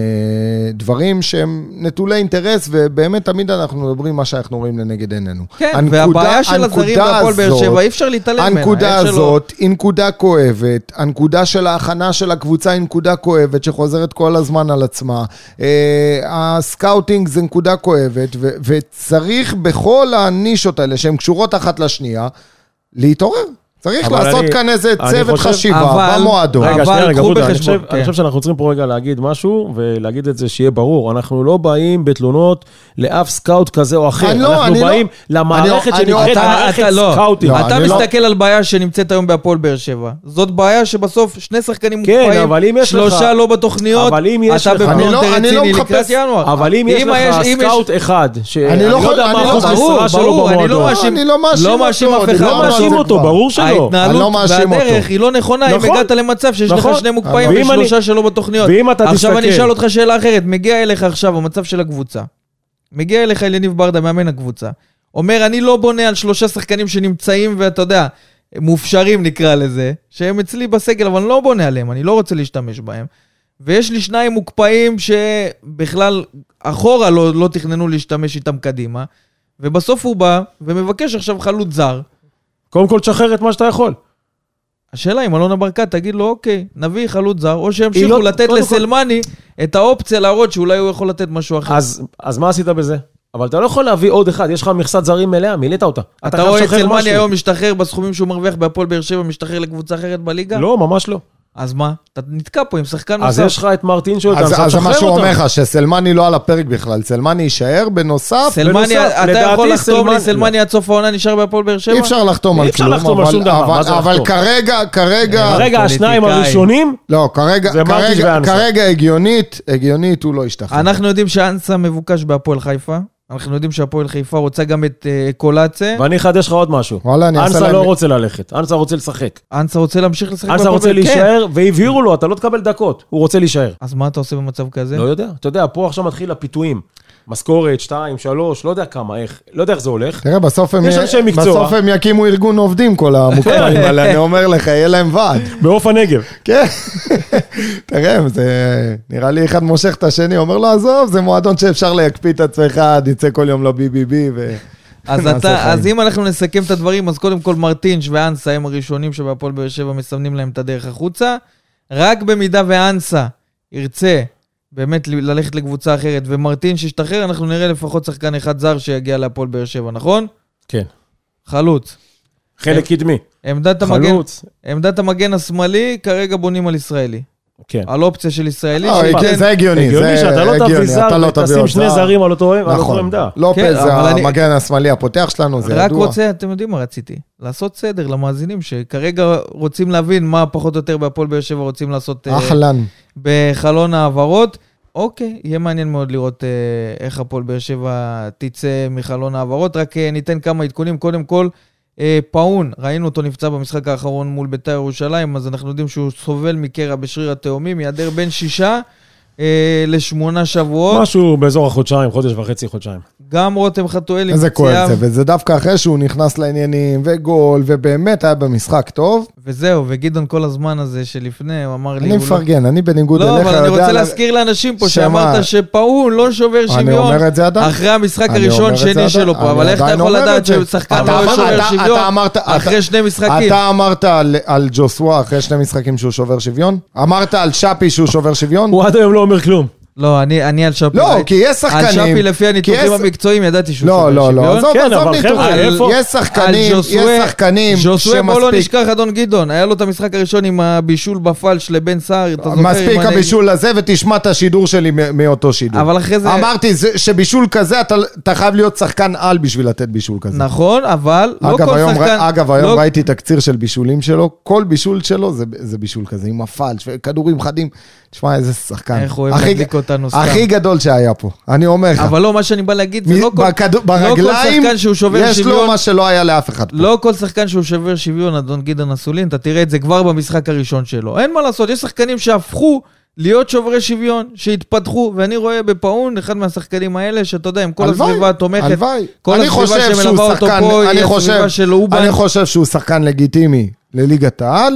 Speaker 3: דברים שהם נטולי אינטרס, ובאמת תמיד אנחנו מדברים מה שאנחנו רואים לנגד עינינו.
Speaker 2: כן,
Speaker 3: הנקודה-
Speaker 2: והבעיה של הזרים
Speaker 3: הנקודה
Speaker 2: בהפועל באר
Speaker 3: הזאת-
Speaker 2: שבע, אי אפשר להתעלם ממנה.
Speaker 3: הנקודה
Speaker 2: איך שלא-
Speaker 3: הזאת היא נקודה כואבת, הנקודה של ההכנה של הקבוצה היא נקודה כואבת שחוזרת כל הזמן על עצמה. אה, הסקאוטינג זה נקודה כואבת, ו- וצריך בכל הנישות האלה, שהן קשורות אחת לשנייה, להתעורר. צריך
Speaker 4: אבל
Speaker 3: לעשות
Speaker 4: אני-
Speaker 3: כאן איזה
Speaker 4: אני
Speaker 3: צוות
Speaker 4: חושב-
Speaker 3: חשיבה
Speaker 2: אבל-
Speaker 3: במועדון.
Speaker 2: אבל
Speaker 4: רגע, שנייה, רגע,
Speaker 2: קחו
Speaker 4: גודה, אני
Speaker 2: בחשבון,
Speaker 4: חושב-
Speaker 2: כן.
Speaker 4: אני חושב שאנחנו צריכים פה רגע להגיד משהו, ולהגיד את זה שיהיה ברור. אנחנו לא באים בתלונות לאף סקאוט כזה או אחר.
Speaker 3: אני לא,
Speaker 4: אנחנו
Speaker 3: אני לא.
Speaker 4: באים
Speaker 3: אני
Speaker 4: למערכת
Speaker 3: לא-
Speaker 4: שנקראת
Speaker 2: אתה-
Speaker 4: מערכת
Speaker 2: אתה לא.
Speaker 4: סקאוטים.
Speaker 3: לא,
Speaker 2: אתה
Speaker 3: אני לא-
Speaker 2: מסתכל על בעיה שנמצאת היום בהפועל באר שבע. זאת בעיה שבסוף שני שחקנים
Speaker 4: כן,
Speaker 2: מוקפאים,
Speaker 4: אבל אם יש לך-
Speaker 2: שלושה לא בתוכניות,
Speaker 4: אבל אם יש
Speaker 2: אתה
Speaker 4: לך-
Speaker 3: אני
Speaker 2: בפלונטר
Speaker 3: לא- אני לא
Speaker 2: רציני
Speaker 3: מחפש-
Speaker 2: לקראת ינואר.
Speaker 4: אבל אם יש לך
Speaker 2: אם
Speaker 4: סקאוט אחד, שאני
Speaker 3: לא
Speaker 4: לא
Speaker 3: יכול-
Speaker 4: יודע מה
Speaker 3: אני לא-
Speaker 4: אחוז
Speaker 2: ברור,
Speaker 4: המשרה שלו
Speaker 2: ברור, אני לא
Speaker 4: במועדון.
Speaker 2: מאשים-
Speaker 3: אני לא מאשים
Speaker 2: לא
Speaker 3: אותו,
Speaker 2: מאשים אף
Speaker 3: אני
Speaker 2: אחד.
Speaker 4: לא
Speaker 2: אבל
Speaker 4: מאשים
Speaker 3: זה
Speaker 4: אותו,
Speaker 3: כבר.
Speaker 4: ברור שלא.
Speaker 3: אני
Speaker 2: ההתנהלות
Speaker 3: לא מאשים
Speaker 2: והדרך
Speaker 3: אותו.
Speaker 2: היא לא נכונה אם
Speaker 4: נכון.
Speaker 2: הגעת למצב שיש לך
Speaker 4: נכון.
Speaker 2: שני מוקפאים
Speaker 4: ואם אני-
Speaker 2: ושלושה שלא בתוכניות.
Speaker 4: ואם אתה
Speaker 2: עכשיו אני
Speaker 4: תסתכל-
Speaker 2: אשאל אותך שאלה אחרת, מגיע אליך עכשיו המצב של הקבוצה. מגיע אליך אליניב ברדה, מאמן הקבוצה. אומר, אני לא בונה על שלושה שחקנים שנמצאים, ואתה יודע, מופשרים נקרא לזה, שהם אצלי בסגל, אבל אני לא בונה עליהם, אני לא רוצה להשתמש בהם. ויש לי שניים מוקפאים שבכלל אחורה לא, לא תכננו להשתמש איתם קדימה. ובסוף הוא בא ומבקש עכשיו חלוץ זר.
Speaker 4: קודם כל תשחרר את מה שאתה יכול.
Speaker 2: השאלה אם אלונה ברקת תגיד לו, אוקיי, נביא חלוץ זר, או שימשיכו
Speaker 4: לא-
Speaker 2: לתת
Speaker 4: קודם כל-
Speaker 2: לסלמני את האופציה להראות שאולי הוא יכול לתת משהו אחר.
Speaker 4: אז, אז מה עשית בזה? אבל אתה לא יכול להביא עוד אחד, יש לך מכסת זרים מלאה, מילאת אותה.
Speaker 2: אתה
Speaker 4: חייב
Speaker 2: רואה את
Speaker 4: לשחרר
Speaker 2: סלמני
Speaker 4: משהו.
Speaker 2: היום משתחרר בסכומים שהוא מרוויח בהפועל באר שבע, משתחרר לקבוצה אחרת בליגה?
Speaker 4: לא, ממש לא.
Speaker 2: אז מה? אתה נתקע פה עם שחקן
Speaker 4: אז
Speaker 2: נוסף.
Speaker 4: יש לך את מרטין שלו,
Speaker 3: אז אז זה מה שהוא אומר לך, שסלמני לא על הפרק בכלל, סלמני יישאר בנוסף.
Speaker 2: סלמני,
Speaker 4: בנוסף,
Speaker 2: אתה
Speaker 4: לדעתי
Speaker 2: יכול לחתום לי
Speaker 4: סלמני- לא.
Speaker 2: סלמני עד סוף העונה נשאר בהפועל באר שבע?
Speaker 3: אי אפשר לחתום על
Speaker 4: אי אפשר
Speaker 3: כלום,
Speaker 4: לחתום על
Speaker 3: אבל-
Speaker 4: שום דבר,
Speaker 3: אבל-
Speaker 4: מה זה
Speaker 3: אבל
Speaker 4: לחתום?
Speaker 3: כרגע, כרגע...
Speaker 4: רגע, השניים
Speaker 2: פוליטיקאי.
Speaker 4: הראשונים,
Speaker 3: לא, כרגע,
Speaker 4: זה מרטיש
Speaker 3: כרגע,
Speaker 4: ואנסה.
Speaker 3: כרגע הגיונית, הגיונית הוא לא השתכנע.
Speaker 2: אנחנו יודעים שאנסה מבוקש בהפועל חיפה. אנחנו יודעים שהפועל חיפה רוצה גם את אה, קולאצה.
Speaker 4: ואני אחדש לך עוד משהו.
Speaker 3: וואלה, אני אעשה
Speaker 4: אנסה
Speaker 3: להם-
Speaker 4: לא רוצה ללכת, אנסה רוצה לשחק.
Speaker 2: אנסה רוצה להמשיך לשחק
Speaker 4: אנסה
Speaker 2: בהפועל
Speaker 4: רוצה
Speaker 2: באר- כן.
Speaker 4: להישאר, והבהירו לו, אתה לא תקבל דקות, הוא רוצה להישאר.
Speaker 2: אז מה אתה עושה במצב כזה?
Speaker 4: לא יודע, אתה יודע, פה עכשיו מתחיל הפיתויים. משכורת, שתיים, שלוש, לא יודע כמה, איך, לא יודע איך זה הולך.
Speaker 3: תראה, בסוף הם,
Speaker 4: יש אנשי מקצוע. כן.
Speaker 3: בסוף הם יקימו ארגון עובדים, כל המוכרים האלה, אני אומר לך, יהיה להם ועד.
Speaker 4: בעוף הנגב.
Speaker 3: כן, תראה, זה נראה לי אחד מושך את השני, אומר לו, עזוב, זה מועדון שאפשר להקפיא את עצמך, עד יצא כל יום ל-BBB ו...
Speaker 2: אז,
Speaker 3: נעשה
Speaker 2: אתה,
Speaker 3: חיים.
Speaker 2: אז אם אנחנו נסכם את הדברים, אז קודם כל מרטינש ואנסה הם הראשונים שבהפועל באר שבע מסמנים להם את הדרך החוצה. רק במידה ואנסה ירצה באמת ל- ללכת לקבוצה אחרת, ומרטינש ישתחרר, אנחנו נראה לפחות שחקן אחד זר שיגיע להפועל באר שבע, נכון?
Speaker 4: כן.
Speaker 2: חלוץ.
Speaker 4: חלק קדמי.
Speaker 2: עמדת המגן,
Speaker 4: חלוץ.
Speaker 2: עמדת המגן השמאלי, כרגע בונים על ישראלי.
Speaker 4: כן.
Speaker 2: על אופציה של ישראלי.
Speaker 3: לא,
Speaker 2: שייתן-
Speaker 3: כן, זה הגיוני,
Speaker 4: הגיוני
Speaker 3: זה
Speaker 4: שאתה לא תביא
Speaker 3: הגיוני,
Speaker 4: זר
Speaker 3: אתה לא תביא
Speaker 4: ותשים
Speaker 3: עוד
Speaker 4: שני
Speaker 3: זר.
Speaker 4: זרים על אותו על אותו
Speaker 3: נכון,
Speaker 4: עמדה.
Speaker 2: כן,
Speaker 3: לופז זה
Speaker 2: אבל אני-
Speaker 3: המגן השמאלי הפותח שלנו, זה
Speaker 2: רק
Speaker 3: ידוע.
Speaker 2: רוצה, אתם יודעים מה רציתי? לעשות סדר למאזינים שכרגע רוצים להבין מה פחות או יותר בהפועל באר שבע רוצים לעשות אה,
Speaker 3: אהלן.
Speaker 2: בחלון ההעברות. אוקיי, יהיה מעניין מאוד לראות אה, איך הפועל באר שבע תצא מחלון ההעברות. רק אה, ניתן כמה עדכונים. קודם כל, אה, פאון, ראינו אותו נפצע במשחק האחרון מול בית"ר ירושלים, אז אנחנו יודעים שהוא סובל מקרע בשריר התאומים, ייעדר בין שישה אה, לשמונה שבועות.
Speaker 3: לא.
Speaker 4: משהו באזור החודשיים, חודש וחצי, חודשיים.
Speaker 2: גם רותם חתואל עם
Speaker 3: איזה כואב
Speaker 2: פציעה.
Speaker 3: זה, וזה דווקא אחרי שהוא נכנס לעניינים, וגול, ובאמת היה במשחק טוב.
Speaker 2: וזהו, וגדעון כל הזמן הזה שלפני, הוא אמר לי...
Speaker 3: אני
Speaker 2: הוא לא-
Speaker 3: מפרגן, אני בניגוד
Speaker 2: לא,
Speaker 3: אליך,
Speaker 2: אבל אני
Speaker 3: יודע
Speaker 2: רוצה
Speaker 3: לה-
Speaker 2: להזכיר לאנשים פה
Speaker 3: שמה?
Speaker 2: שאמרת שפאון לא שובר
Speaker 3: אני
Speaker 2: שוויון
Speaker 3: אומר את זה עדיין.
Speaker 2: אחרי המשחק
Speaker 3: אני אומר
Speaker 2: הראשון
Speaker 3: את זה
Speaker 2: שני
Speaker 3: עדיין.
Speaker 2: שלו פה,
Speaker 3: אני
Speaker 2: אבל איך אתה
Speaker 3: עדיין
Speaker 2: יכול
Speaker 3: אומר את
Speaker 2: לדעת
Speaker 3: זה.
Speaker 2: ששחקן
Speaker 3: אתה
Speaker 2: לא
Speaker 3: אמרת-
Speaker 2: שובר
Speaker 3: אתה- אתה
Speaker 2: שוויון
Speaker 3: אמרת-
Speaker 2: אחרי שני משחקים?
Speaker 3: אתה אמרת על, על ג'וסווה אחרי שני משחקים שהוא שובר שוויון? אמרת על שפי שהוא שובר שוויון?
Speaker 4: הוא עד היום לא אומר כלום.
Speaker 2: לא, אני אני על שפי.
Speaker 3: לא,
Speaker 2: ראיתי-
Speaker 3: כי יש
Speaker 2: על
Speaker 3: שחקנים...
Speaker 2: שפי לפי
Speaker 3: כי
Speaker 2: הניתוחים
Speaker 3: יש-
Speaker 2: המקצועיים ידעתי שהוא שובר
Speaker 3: לא,
Speaker 2: שוויון.
Speaker 3: לא, לא, עזוב,
Speaker 4: כן,
Speaker 3: עזוב
Speaker 4: אבל חבר'ה,
Speaker 3: ניתוחים.
Speaker 4: איפה?
Speaker 3: יש שחקנים,
Speaker 2: על
Speaker 3: יש שחקנים
Speaker 2: ז'וסווה, בוא לא
Speaker 3: שמספיק...
Speaker 2: נשכח, אדון גדעון, היה לו את המשחק הראשון עם הבישול בפלש לבן סער, אתה זוכר?
Speaker 3: מספיק
Speaker 2: עם הנג-
Speaker 3: הבישול הזה, ותשמע את השידור שלי מ- מאותו שידור.
Speaker 2: אבל אחרי זה...
Speaker 3: אמרתי זה- שבישול כזה, אתה- אתה חייב להיות שחקן על בשביל לתת בישול כזה.
Speaker 2: נכון, אבל לא
Speaker 3: אגב,
Speaker 2: כל
Speaker 3: היום,
Speaker 2: שחקן...
Speaker 3: ר... אגב,
Speaker 2: לא-
Speaker 3: היום ראיתי תקציר של בישולים שלו, כל בישול שלו זה, זה בישול כזה, עם הפלש, כדורים חדים. תשמע, איזה שחקן.
Speaker 2: איך הוא אוהב
Speaker 3: הכי-
Speaker 2: להדליק אותנו סתם.
Speaker 3: הכי גדול שהיה פה, אני אומר לך.
Speaker 2: אבל לא, מה שאני בא להגיד, זה
Speaker 3: מ-
Speaker 2: לא כל,
Speaker 3: בכד...
Speaker 2: לא כל
Speaker 3: ברגליים,
Speaker 2: שחקן שהוא שובר
Speaker 3: יש לו
Speaker 2: שוויון,
Speaker 3: מה שלא היה לאף אחד. פה.
Speaker 2: לא כל שחקן שהוא שובר שוויון, אדון גדעון אסולין, אתה תראה את זה כבר במשחק הראשון שלו. אין מה לעשות, יש שחקנים שהפכו להיות שוברי שוויון, שהתפתחו, ואני רואה בפאון, אחד מהשחקנים האלה, שאתה יודע, עם כל
Speaker 3: הלוואי,
Speaker 2: הסביבה התומכת,
Speaker 3: הלוואי.
Speaker 2: כל
Speaker 3: אני
Speaker 2: הסביבה
Speaker 3: חושב שהוא
Speaker 2: שמלווה אותו
Speaker 3: שחקן-
Speaker 2: פה,
Speaker 3: אני
Speaker 2: היא
Speaker 3: חושב-
Speaker 2: הסביבה של אובן.
Speaker 3: אני חושב שהוא שחקן לגיטימי לליגת העל,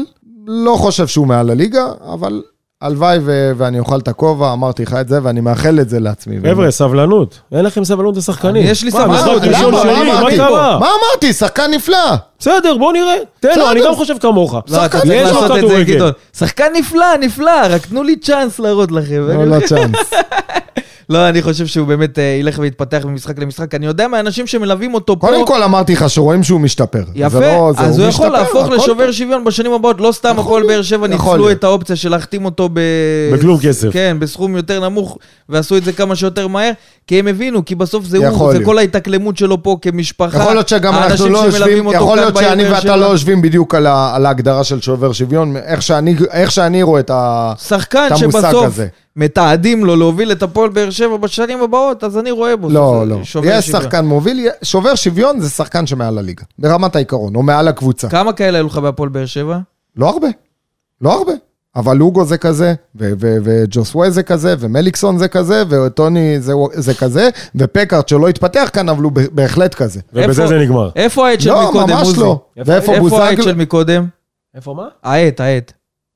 Speaker 3: לא חושב שהוא מעל הליגה, אבל הלוואי ו... ואני אוכל את הכובע, אמרתי לך את זה, ואני מאחל את זה לעצמי.
Speaker 4: חבר'ה, סבלנות. אין לכם סבלנות לשחקנים.
Speaker 2: אני- יש לי
Speaker 4: מה,
Speaker 2: סבלנות,
Speaker 4: משחק
Speaker 2: למה?
Speaker 4: ראשון
Speaker 2: מה
Speaker 4: שני, מה
Speaker 2: אמרתי?
Speaker 4: קרה?
Speaker 3: מה אמרתי? שחקן נפלא.
Speaker 4: בסדר, בוא נראה. תן לו,
Speaker 3: בסדר.
Speaker 4: אני גם חושב כמוך.
Speaker 2: לא, אתה
Speaker 4: יש
Speaker 2: צריך
Speaker 4: לו
Speaker 2: לעשות את זה,
Speaker 4: כדורגל.
Speaker 2: גדעון. שחקן נפלא, נפלא, רק תנו לי צ'אנס להראות לכם.
Speaker 3: לא, לא צ'אנס.
Speaker 2: לא, אני חושב שהוא באמת אה, ילך ויתפתח ממשחק למשחק. אני יודע מהאנשים שמלווים אותו פה...
Speaker 3: קודם כל אמרתי לך שרואים שהוא משתפר. זה
Speaker 2: יפה,
Speaker 3: לא-
Speaker 2: אז
Speaker 3: זה,
Speaker 2: הוא יכול
Speaker 3: משתפר,
Speaker 2: להפוך
Speaker 3: הכל
Speaker 2: לשובר
Speaker 3: טוב.
Speaker 2: שוויון בשנים הבאות, לא סתם הפועל באר שבע
Speaker 3: יכול
Speaker 2: ניצלו
Speaker 3: להיות.
Speaker 2: את האופציה של להחתים אותו ב...
Speaker 4: בכלום כסף.
Speaker 2: כן, בסכום יותר נמוך, ועשו את זה כמה שיותר מהר, כי הם הבינו, כי בסוף זה הוא,
Speaker 3: יכול
Speaker 2: זה
Speaker 3: להיות.
Speaker 2: כל ההתאקלמות שלו פה כמשפחה.
Speaker 3: יכול להיות שגם אנחנו
Speaker 2: האנשים
Speaker 3: לא
Speaker 2: שמלווים
Speaker 3: יושבים,
Speaker 2: אותו
Speaker 3: יכול
Speaker 2: כאן
Speaker 3: להיות
Speaker 2: בעיר
Speaker 3: שאני
Speaker 2: באר
Speaker 3: ואתה
Speaker 2: שבע.
Speaker 3: לא יושבים בדיוק על ה- על ההגדרה של שובר שוויון, איך שאני- איך שאני רואה את ה...
Speaker 2: שחקן
Speaker 3: את המושג
Speaker 2: שבסוף
Speaker 3: הזה.
Speaker 2: מתעדים לו להוביל את הפועל באר שבע בשנים הבאות, אז אני רואה בו
Speaker 3: לא,
Speaker 2: שזה
Speaker 3: לא.
Speaker 2: שובר
Speaker 3: יש
Speaker 2: שוויון.
Speaker 3: שחקן מוביל, שובר שוויון זה שחקן שמעל הליגה, ברמת העיקרון, או מעל הקבוצה.
Speaker 2: כמה כאלה היו לך בהפועל באר שבע?
Speaker 3: לא הרבה, לא הרבה. אבל לוגו זה כזה, ו- ו- וג'וסווה זה כזה, ומליקסון זה כזה, וטוני זה, זה כזה, ופקארט שלא התפתח כאן, אבל הוא ב- בהחלט כזה.
Speaker 4: ובזה
Speaker 2: איפה-
Speaker 4: זה נגמר.
Speaker 2: איפה העט של
Speaker 3: לא,
Speaker 2: מקודם,
Speaker 3: ממש
Speaker 2: עוזי?
Speaker 3: לא. ואיפה
Speaker 2: איפה העט
Speaker 3: בוזגלו?
Speaker 2: של מקודם?
Speaker 4: איפה מה?
Speaker 2: העט, העט.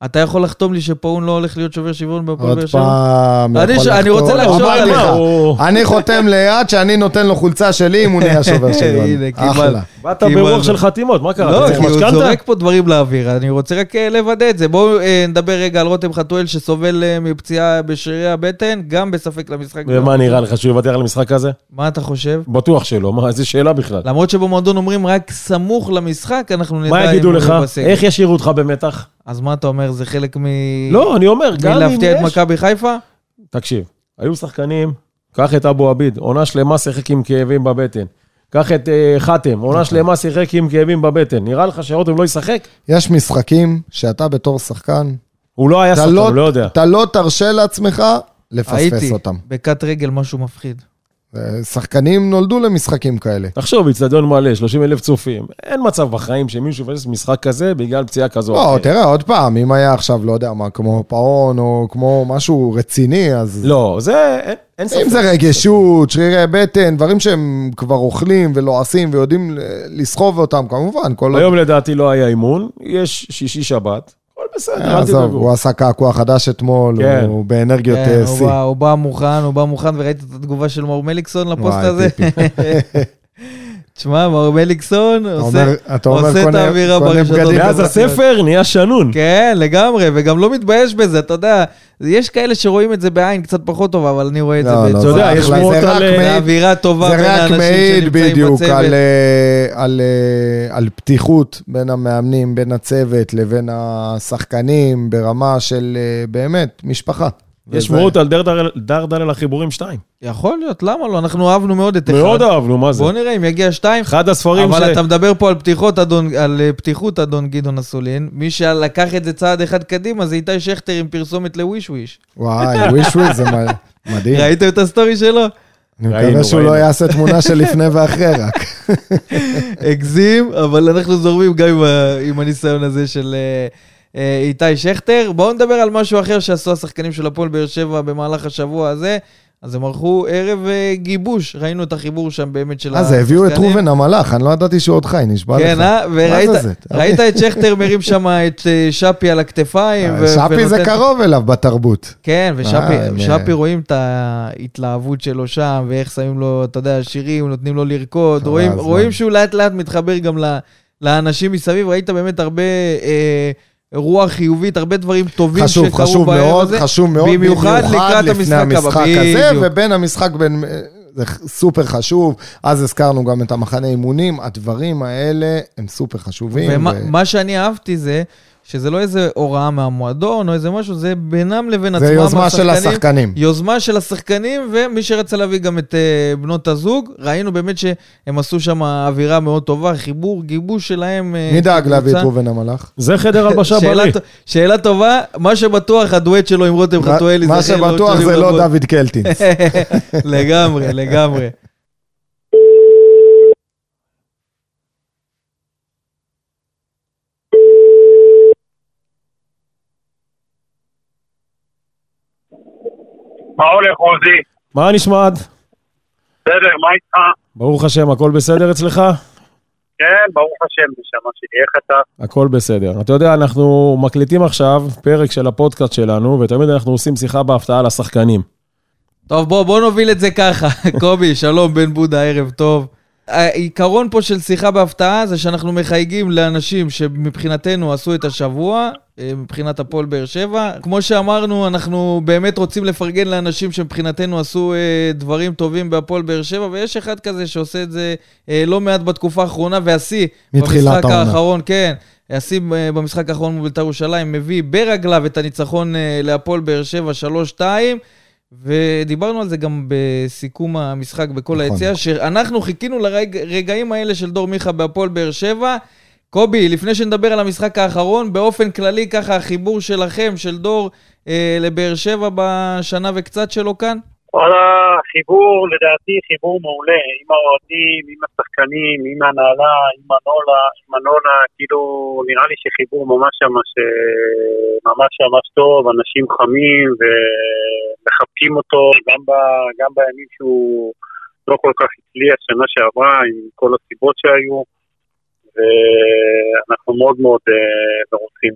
Speaker 2: אתה יכול לחתום לי שפאון לא הולך להיות שובר שוויון בהפועל באר
Speaker 3: עוד
Speaker 2: שבע?
Speaker 3: פעם,
Speaker 2: אני ש-
Speaker 3: יכול
Speaker 2: אני רוצה
Speaker 3: לחתום.
Speaker 2: לחשוב
Speaker 3: אמרתי
Speaker 2: עליו.
Speaker 3: לך,
Speaker 4: אה, הוא-
Speaker 3: אני חותם ליד שאני נותן לו חולצה שלי אם הוא נהיה שובר שוויון.
Speaker 2: הנה, קיבלת.
Speaker 3: אחלה.
Speaker 4: באת
Speaker 2: אה, כי
Speaker 4: ברוח
Speaker 2: מה-
Speaker 4: של חתימות, מה קרה?
Speaker 2: לא,
Speaker 4: אתה צריך
Speaker 2: כי הוא
Speaker 4: משכנתה?
Speaker 2: זורק פה דברים לאוויר, אני רוצה רק אה, לוודא את זה. בואו אה, נדבר רגע על רותם חתואל שסובל אה, מפציעה בשרירי הבטן, גם בספק למשחק. לא.
Speaker 4: ומה נראה לך, שהוא יוותר על המשחק הזה?
Speaker 2: מה אתה חושב?
Speaker 4: בטוח שלא, מה, איזה שאלה בכלל.
Speaker 2: למרות שבמועדון אומרים רק סמוך למשחק, אנחנו נדע
Speaker 4: מה יגידו
Speaker 2: הוא לא
Speaker 4: לך?
Speaker 2: בסגל.
Speaker 4: איך ישאירו אותך במתח?
Speaker 2: אז מה אתה אומר, זה חלק מ...
Speaker 4: לא, אני אומר, גם אם
Speaker 2: מלהפתיע את
Speaker 4: יש...
Speaker 2: מכבי חיפה?
Speaker 4: תקשיב, היו שחקנים, קח את אבו עביד, עונה שלמה שיחק עם כאבים בבטן. קח את אה, חתם,
Speaker 3: נכון.
Speaker 4: עונה שלמה שיחק עם כאבים בבטן. נראה לך שרותם לא ישחק?
Speaker 3: יש משחקים שאתה בתור שחקן,
Speaker 4: הוא לא היה
Speaker 3: אתה
Speaker 4: שחקן,
Speaker 3: לא-
Speaker 4: הוא לא יודע.
Speaker 3: אתה לא תרשה לעצמך לפספס
Speaker 2: הייתי
Speaker 3: אותם.
Speaker 2: בכת רגל משהו מפחיד.
Speaker 3: אה, שחקנים נולדו למשחקים כאלה.
Speaker 4: תחשוב, אצטדיון מלא, 30 אלף צופים. אין מצב בחיים שמישהו יפסס משחק כזה בגלל פציעה כזו. או
Speaker 3: לא,
Speaker 4: אחרת.
Speaker 3: תראה, עוד פעם, אם היה עכשיו, לא יודע מה, כמו פאון, או כמו משהו רציני, אז...
Speaker 4: לא, זה... אין-
Speaker 3: אם
Speaker 4: אין ספק.
Speaker 3: זה רגישות, שרירי בטן, דברים שהם כבר אוכלים ולועסים ויודעים ל- לסחוב אותם, כמובן, כל...
Speaker 4: היום לדעתי לא היה אימון, יש שישי-שבת, הכל בסדר, לא- אל
Speaker 3: אה, עזוב,
Speaker 4: תדאגו.
Speaker 3: הוא עשה קעקוע חדש אתמול,
Speaker 4: כן.
Speaker 3: הוא באנרגיות
Speaker 2: כן,
Speaker 3: אה,
Speaker 2: הוא
Speaker 3: שיא.
Speaker 2: בא- הוא בא מוכן, הוא בא מוכן, וראית את התגובה של מר מליקסון לפוסט
Speaker 3: וואי,
Speaker 2: הזה? תשמע, מר מליקסון
Speaker 3: אתה
Speaker 2: עושה...
Speaker 3: אומר- אתה אומר,
Speaker 2: עושה את
Speaker 3: קונה
Speaker 2: האווירה
Speaker 3: קונה
Speaker 2: ברשתות.
Speaker 3: בגדים.
Speaker 4: מאז הספר נהיה שנון.
Speaker 2: כן, לגמרי, וגם לא מתבייש בזה, אתה יודע, יש כאלה שרואים את זה בעין קצת פחות טובה, אבל אני רואה את זה
Speaker 3: לא, לא,
Speaker 4: אתה יודע,
Speaker 3: זה
Speaker 4: יש
Speaker 3: אחלה,
Speaker 4: שמועות
Speaker 3: זה רק
Speaker 4: על, אה,
Speaker 3: מעיד-
Speaker 2: באווירה טובה בין
Speaker 3: זה רק
Speaker 2: האנשים
Speaker 3: מעיד
Speaker 2: שנמצאים
Speaker 3: בדיוק
Speaker 2: בצוות.
Speaker 3: על, אה, על, אה, על פתיחות בין המאמנים, בין הצוות לבין השחקנים, ברמה של אה, באמת משפחה.
Speaker 4: יש
Speaker 3: וזה-
Speaker 4: שמועות על דרדל- דרדל על החיבורים 2.
Speaker 2: יכול להיות, למה לא? אנחנו אהבנו מאוד את אחד.
Speaker 4: מאוד אהבנו, מה זה?
Speaker 2: בוא נראה אם יגיע שתיים.
Speaker 4: אחד הספרים ש...
Speaker 2: אבל אתה מדבר פה על פתיחות, אדון, על אה, פתיחות, אדון גדעון אסולין. מי שלקח את זה צעד אחד קדימה זה איתי שכטר עם פרסומת לוויש וויש.
Speaker 3: וואי, וויש וויש זה מ- מדהים.
Speaker 2: ראיתם את הסטורי שלו?
Speaker 3: אני
Speaker 4: ראינו,
Speaker 3: מקווה שהוא
Speaker 4: ראינו.
Speaker 3: לא יעשה תמונה של לפני ואחרי רק.
Speaker 2: הגזים, אבל אנחנו זורמים גם עם, ה- עם הניסיון הזה של אה, אה, איתי שכטר. בואו נדבר על משהו אחר שעשו השחקנים של הפועל באר שבע במהלך השבוע הזה. אז הם ערכו ערב אה, גיבוש, ראינו את החיבור שם באמת של
Speaker 3: אז אה, הביאו את
Speaker 2: לא, השחקנים.
Speaker 3: ראובן המלאך, אני לא ידעתי שהוא עוד חי, נשבע לך.
Speaker 2: כן, אה? וראית
Speaker 3: מה זה אוקיי. זה?
Speaker 2: ראית את שכטר מרים שם את אה, שפי על הכתפיים. ו-
Speaker 3: אה, שפי זה
Speaker 2: אה, ונותן-
Speaker 3: קרוב אליו בתרבות.
Speaker 2: כן,
Speaker 3: אה, הם,
Speaker 2: ושפי
Speaker 3: אה,
Speaker 2: רואים את ההתלהבות שלו שם, ואיך שמים לו, אתה יודע, שירים, נותנים לו לרקוד,
Speaker 3: חבל
Speaker 2: רואים-
Speaker 3: הזמן.
Speaker 2: רואים שהוא לאט לאט מתחבר גם ל- לאנשים מסביב, ראית באמת הרבה אה, רוח חיובית, הרבה דברים טובים שקרו
Speaker 3: חשוב,
Speaker 2: בערב הזה.
Speaker 3: חשוב מאוד, חשוב מאוד,
Speaker 2: במיוחד לקראת
Speaker 3: לפני
Speaker 2: המשחק הבא,
Speaker 3: המשחק הזה,
Speaker 2: בדיוק.
Speaker 3: ובין המשחק בין... זה סופר חשוב, אז הזכרנו גם את המחנה אימונים, הדברים האלה הם סופר חשובים.
Speaker 2: ומה
Speaker 3: ו-
Speaker 2: מה שאני אהבתי זה... שזה לא איזה הוראה מהמועדון או איזה משהו, זה בינם לבין עצמם,
Speaker 3: זה יוזמה של
Speaker 2: השחקנים.
Speaker 3: השחקנים.
Speaker 2: יוזמה של השחקנים, ומי שרצה להביא גם את אה, בנות הזוג, ראינו באמת שהם עשו שם אווירה מאוד טובה, חיבור, גיבוש שלהם. אה,
Speaker 3: מי דאג
Speaker 2: כקבוצה.
Speaker 3: להביא את ראובן המלאך?
Speaker 4: זה חדר הלבשה
Speaker 2: שאלה
Speaker 4: בריא.
Speaker 2: ט- שאלה טובה, מה שבטוח הדואט שלו עם רותם חתואלי. כן,
Speaker 3: מה
Speaker 2: זכה לעוד
Speaker 3: שבטוח
Speaker 2: שנים
Speaker 3: זה לא
Speaker 2: רבות.
Speaker 3: דוד קלטינס.
Speaker 2: לגמרי, לגמרי.
Speaker 5: מה הולך, עוזי?
Speaker 4: מה נשמע עד?
Speaker 5: בסדר, מה איתך?
Speaker 4: ברוך השם, הכל בסדר אצלך?
Speaker 5: כן, ברוך השם, נשמה שלי, איך אתה?
Speaker 4: הכל בסדר. אתה יודע, אנחנו מקליטים עכשיו פרק של הפודקאסט שלנו, ותמיד אנחנו עושים שיחה בהפתעה לשחקנים.
Speaker 2: טוב, בוא, בוא נוביל את זה ככה. קובי, שלום, בן בודה, ערב טוב. העיקרון פה של שיחה בהפתעה זה שאנחנו מחייגים לאנשים שמבחינתנו עשו את השבוע, אה, מבחינת הפועל באר שבע. כמו שאמרנו, אנחנו באמת רוצים לפרגן לאנשים שמבחינתנו עשו אה, דברים טובים בהפועל באר שבע, ויש אחד כזה שעושה את זה אה, לא מעט בתקופה האחרונה, והשיא,
Speaker 3: מתחילת
Speaker 2: במשחק
Speaker 3: העונה.
Speaker 2: האחרון, כן. השיא אה, במשחק האחרון מול בית"ר ירושלים מביא ברגליו את הניצחון אה, להפועל באר שבע 3-2. ודיברנו על זה גם בסיכום המשחק בכל
Speaker 3: נכון.
Speaker 2: היציאה, שאנחנו חיכינו לרגעים האלה של דור מיכה בהפועל באר שבע. קובי, לפני שנדבר על המשחק האחרון, באופן כללי, ככה החיבור שלכם, של דור אה, לבאר שבע בשנה וקצת שלו כאן?
Speaker 5: וואלה, חיבור, לדעתי חיבור מעולה, עם האוהדים, עם השחקנים, עם ההנהלה, עם הנולה, עם הנולה, כאילו, נראה לי שחיבור ממש ממש, אה, ממש ממש טוב, אנשים חמים ומחבקים אותו, גם, ב, גם בימים שהוא לא כל כך הצליח שנה שעברה, עם כל הסיבות שהיו, ואנחנו מאוד מאוד אה, מרוצים.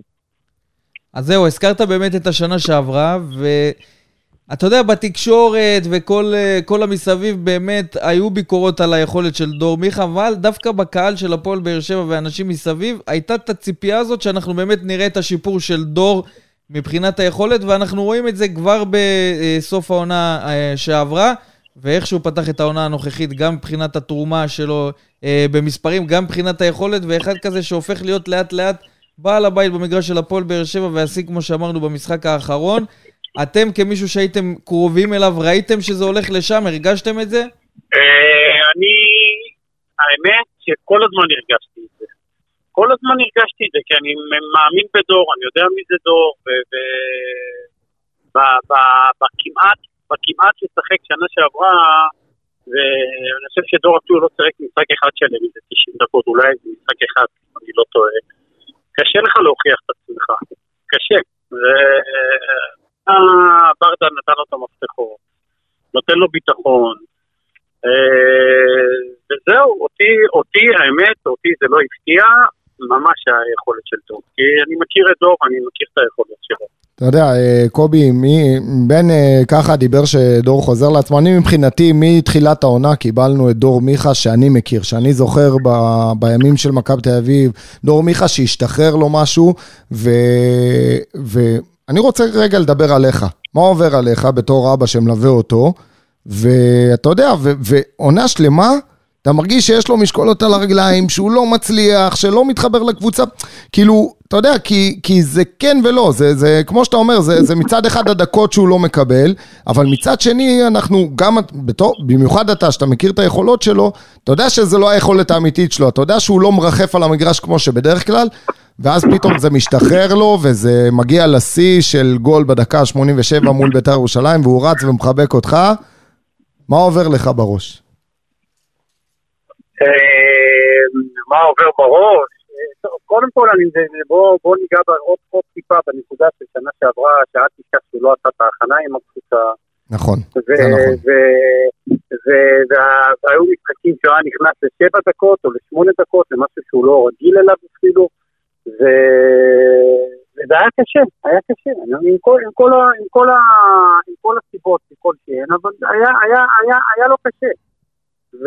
Speaker 2: אז זהו, הזכרת באמת את השנה שעברה, ואתה יודע, בתקשורת וכל אה, כל המסביב באמת היו ביקורות על היכולת של דור מיכה, אבל דווקא בקהל של הפועל באר שבע ואנשים מסביב, הייתה את הציפייה הזאת שאנחנו באמת נראה את השיפור של דור מבחינת היכולת, ואנחנו רואים את זה כבר בסוף העונה אה, שעברה. ואיך שהוא פתח את העונה הנוכחית, גם מבחינת התרומה שלו אה, במספרים, גם מבחינת היכולת, ואחד כזה שהופך להיות לאט-לאט בעל הבית במגרש של הפועל באר שבע, והשיא, כמו שאמרנו, במשחק האחרון. אתם, כמישהו שהייתם קרובים אליו, ראיתם שזה הולך לשם? הרגשתם את זה?
Speaker 5: אה, אני, האמת שכל הזמן הרגשתי את זה. כל הזמן הרגשתי את זה, כי אני מאמין בדור, אני יודע מי זה דור, וכמעט, בכמעט לשחק שנה שעברה, ואני חושב שדור אפילו לא שיחק משחק אחד שלם, זה 90 דקות, אולי זה משחק אחד, אם אני לא טועה. קשה לך להוכיח את עצמך, קשה. וברדה נתן לו את המפתחות, נותן לו ביטחון. אה, וזהו, אותי, אותי, האמת, אותי זה לא הפתיע, ממש היכולת של דור. כי אני מכיר את דור, אני מכיר את היכולת שלו.
Speaker 3: אתה יודע, אה, קובי, מי, בן אה, ככה דיבר שדור חוזר לעצמו. אני מבחינתי, מתחילת העונה קיבלנו את דור מיכה שאני מכיר, שאני זוכר ב, בימים של מכבי תל אביב, דור מיכה שהשתחרר לו משהו, ו... ואני רוצה רגע לדבר עליך. מה עובר עליך בתור אבא שמלווה אותו, ואתה יודע, ו- ועונה שלמה, אתה מרגיש שיש לו משקולות על הרגליים, שהוא לא מצליח, שלא מתחבר לקבוצה. כאילו, אתה יודע, כי, כי זה כן ולא, זה, זה כמו שאתה אומר, זה, זה מצד אחד הדקות שהוא לא מקבל, אבל מצד שני, אנחנו גם, בתור, במיוחד אתה, שאתה מכיר את היכולות שלו, אתה יודע שזה לא היכולת האמיתית שלו, אתה יודע שהוא לא מרחף על המגרש כמו שבדרך כלל, ואז פתאום זה משתחרר לו, וזה מגיע לשיא של גול בדקה ה-87 מול בית"ר ירושלים, והוא רץ ומחבק אותך. מה עובר לך בראש?
Speaker 5: אה, מה עובר בראש? אה, טוב, קודם כל, אני, זה- זה- בוא, בוא ניגע בה עוד, עוד טיפה בנקודה של שנה שעברה, שעד תשכח שהוא לא עשה את ההכנה עם הקבוצה.
Speaker 3: נכון,
Speaker 5: ו-
Speaker 3: זה נכון.
Speaker 5: ו- ו- וה- והיו משחקים שהוא היה נכנס לשבע דקות או לשמונה דקות, זה משהו שהוא לא רגיל אליו אפילו. ו- וזה היה קשה, היה קשה, אני- עם כל, עם, כל, ה- עם, כל, ה, עם כל הסיבות, מכל שהן, אבל היה, היה, היה, היה לו קשה. ו...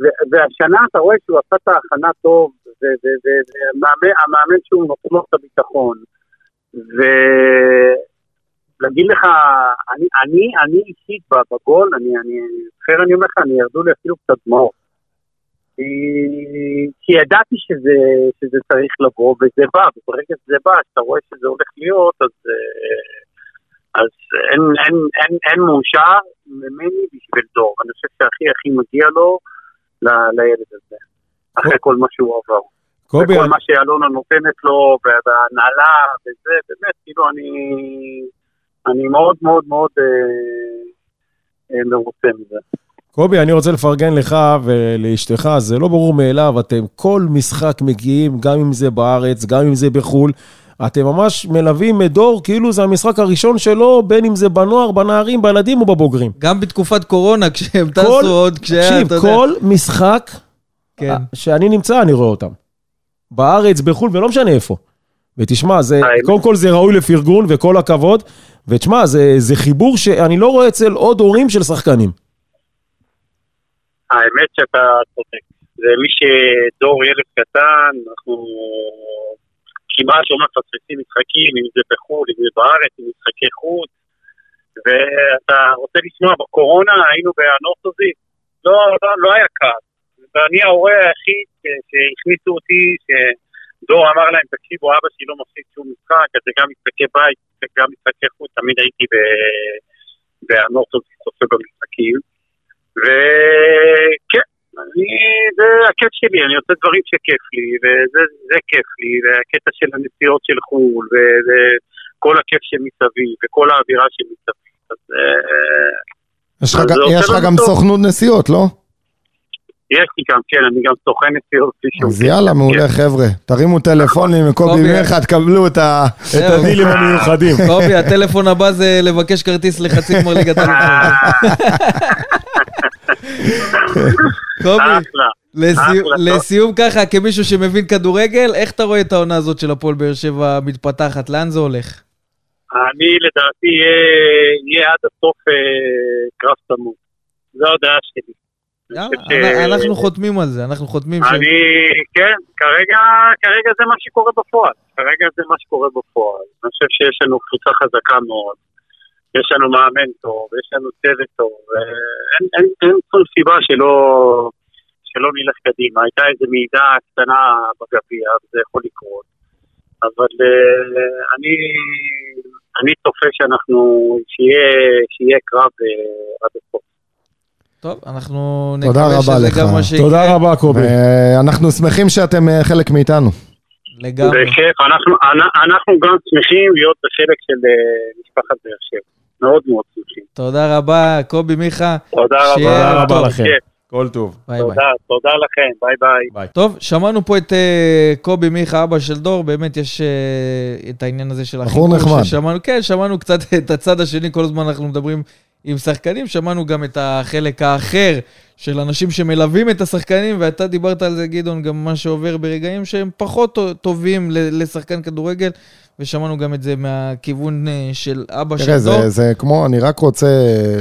Speaker 5: ו- והשנה אתה רואה שהוא עשה את ההכנה טוב, ו- ו- ו- והמאמן המאמן שהוא נותן לו את הביטחון. ולהגיד לך, אני, אני, אני אישית בגול, אני, אני, אחר אני אומר לך, אני ירדו לי אפילו קצת דמעות. כי- כי ידעתי שזה, שזה צריך לבוא, וזה בא, וברגע שזה בא, כשאתה רואה שזה הולך להיות, אז, אה, אז אין, אין, אין, אין מאושר ממני בשביל דור. אני חושב שהכי הכי מגיע לו ל- לילד הזה, אחרי כל מה שהוא עבר.
Speaker 4: קובי,
Speaker 5: וכל מה שאלונה נותנת לו, וההנהלה, וזה, באמת, כאילו, אני, אני מאוד מאוד מאוד אה, אה, מרוצה מזה.
Speaker 4: קובי, אני רוצה לפרגן לך ולאשתך, זה לא ברור מאליו, אתם כל משחק מגיעים, גם אם זה בארץ, גם אם זה בחו"ל. אתם ממש מלווים את דור, כאילו זה המשחק הראשון שלו, בין אם זה בנוער, בנערים, בילדים או בבוגרים.
Speaker 2: גם בתקופת קורונה, כשהם טסו
Speaker 4: כל-
Speaker 2: עוד, כשהיה, אתה
Speaker 4: תקשיב,
Speaker 2: יודע.
Speaker 4: כל משחק אה,
Speaker 2: כן.
Speaker 4: שאני נמצא, אני רואה אותם. בארץ, בחו"ל, ולא משנה איפה. ותשמע, זה,
Speaker 5: האמת.
Speaker 4: קודם כל זה ראוי לפרגון וכל הכבוד. ותשמע, זה, זה חיבור שאני לא רואה אצל עוד הורים של שחקנים.
Speaker 5: האמת שאתה צודק. זה מי שדור ילד קטן, אנחנו כמעט לא מפספסים משחקים, אם זה בחו"ל, אם זה בארץ, אם משחקי חוץ. ואתה רוצה לשמוע, בקורונה היינו באנורתוזי, לא, לא, לא היה קל. ואני ההורה היחיד ש- שהכניסו אותי, שדור אמר להם, תקשיבו, אבא שלי לא מפסיד שום משחק, אז זה גם משחקי בית, זה גם משחקי חוץ, תמיד הייתי ב- באנורתוזי צופה במשחקים. וכן, אני, זה הכיף שלי, אני עושה דברים שכיף לי, וזה זה כיף לי, והקטע של הנסיעות של חו"ל, וכל הכיף שמסביב, וכל האווירה שמסביב. אז אה,
Speaker 3: יש לך
Speaker 5: אז
Speaker 3: גם-
Speaker 5: זה עושה
Speaker 3: יש לך
Speaker 5: לנו
Speaker 3: גם
Speaker 5: טוב.
Speaker 3: סוכנות נסיעות, לא?
Speaker 5: יש לי גם, כן, אני גם סוכן נסיעות בלי שום
Speaker 3: אז יאללה,
Speaker 5: כן.
Speaker 3: מעולה, חבר'ה. תרימו טלפונים
Speaker 2: קובי.
Speaker 3: לקובי מיכה, תקבלו את ה...
Speaker 4: את
Speaker 2: זהו.
Speaker 4: הדילים המיוחדים.
Speaker 2: קובי, הטלפון הבא זה לבקש כרטיס לחצי גמר ליגת האלופות. קובי,
Speaker 5: אה, אחלה.
Speaker 2: לסיום-
Speaker 5: אחלה, טוב.
Speaker 2: לסיום ככה, כמישהו שמבין כדורגל, איך אתה רואה את העונה הזאת של הפועל באר שבע מתפתחת? לאן זה הולך?
Speaker 5: אני לדעתי יהיה- יהיה עד הסוף אה, קרב צמוד. זו הדעה שלי. אני
Speaker 2: יאללה,
Speaker 5: חושב ש-
Speaker 2: אנ- אנחנו חותמים על זה, אנחנו חותמים ש...
Speaker 5: אה, אני, כן, כרגע, כרגע זה מה שקורה בפועל. כרגע זה מה שקורה בפועל. אני חושב שיש לנו קבוצה חזקה מאוד, יש לנו מאמן טוב, יש לנו צוות טוב, אה, אין, אין, אין כל סיבה שלא, שלא נלך קדימה. הייתה איזו מעידה קטנה בגביע, וזה יכול לקרות. אבל אה, אני, אני צופה שאנחנו, שיהיה, שיהיה קרב אה, עד הסוף.
Speaker 2: טוב, אנחנו
Speaker 3: תודה
Speaker 2: נקווה
Speaker 3: רבה
Speaker 2: שזה
Speaker 3: לך.
Speaker 2: גם מה שיקרה.
Speaker 4: תודה רבה, קובי.
Speaker 3: אה, אנחנו שמחים שאתם אה, חלק מאיתנו.
Speaker 2: לגמרי.
Speaker 5: בכיף, אנחנו, אנ- אנחנו גם שמחים להיות בחלק של אה, משפחת באר שבע. מאוד מאוד שמחים.
Speaker 2: תודה רבה, קובי, מיכה.
Speaker 5: תודה
Speaker 2: שיהיה
Speaker 4: תודה
Speaker 5: רבה.
Speaker 4: רבה
Speaker 2: טוב,
Speaker 4: לכם.
Speaker 5: כן,
Speaker 4: כל טוב.
Speaker 2: ביי ביי.
Speaker 5: תודה, תודה לכם, ביי ביי.
Speaker 2: טוב, שמענו פה את אה, קובי מיכה, אבא של דור, באמת יש אה, את העניין הזה של
Speaker 3: בחור נחמד.
Speaker 2: ששמענו, כן, שמענו קצת את הצד השני, כל הזמן אנחנו מדברים עם שחקנים, שמענו גם את החלק האחר של אנשים שמלווים את השחקנים, ואתה דיברת על זה, גדעון, גם מה שעובר ברגעים שהם פחות טו- טובים ל- לשחקן כדורגל, ושמענו גם את זה מהכיוון אה, של אבא
Speaker 3: תראה,
Speaker 2: של דור.
Speaker 3: זה, זה כמו, אני רק רוצה,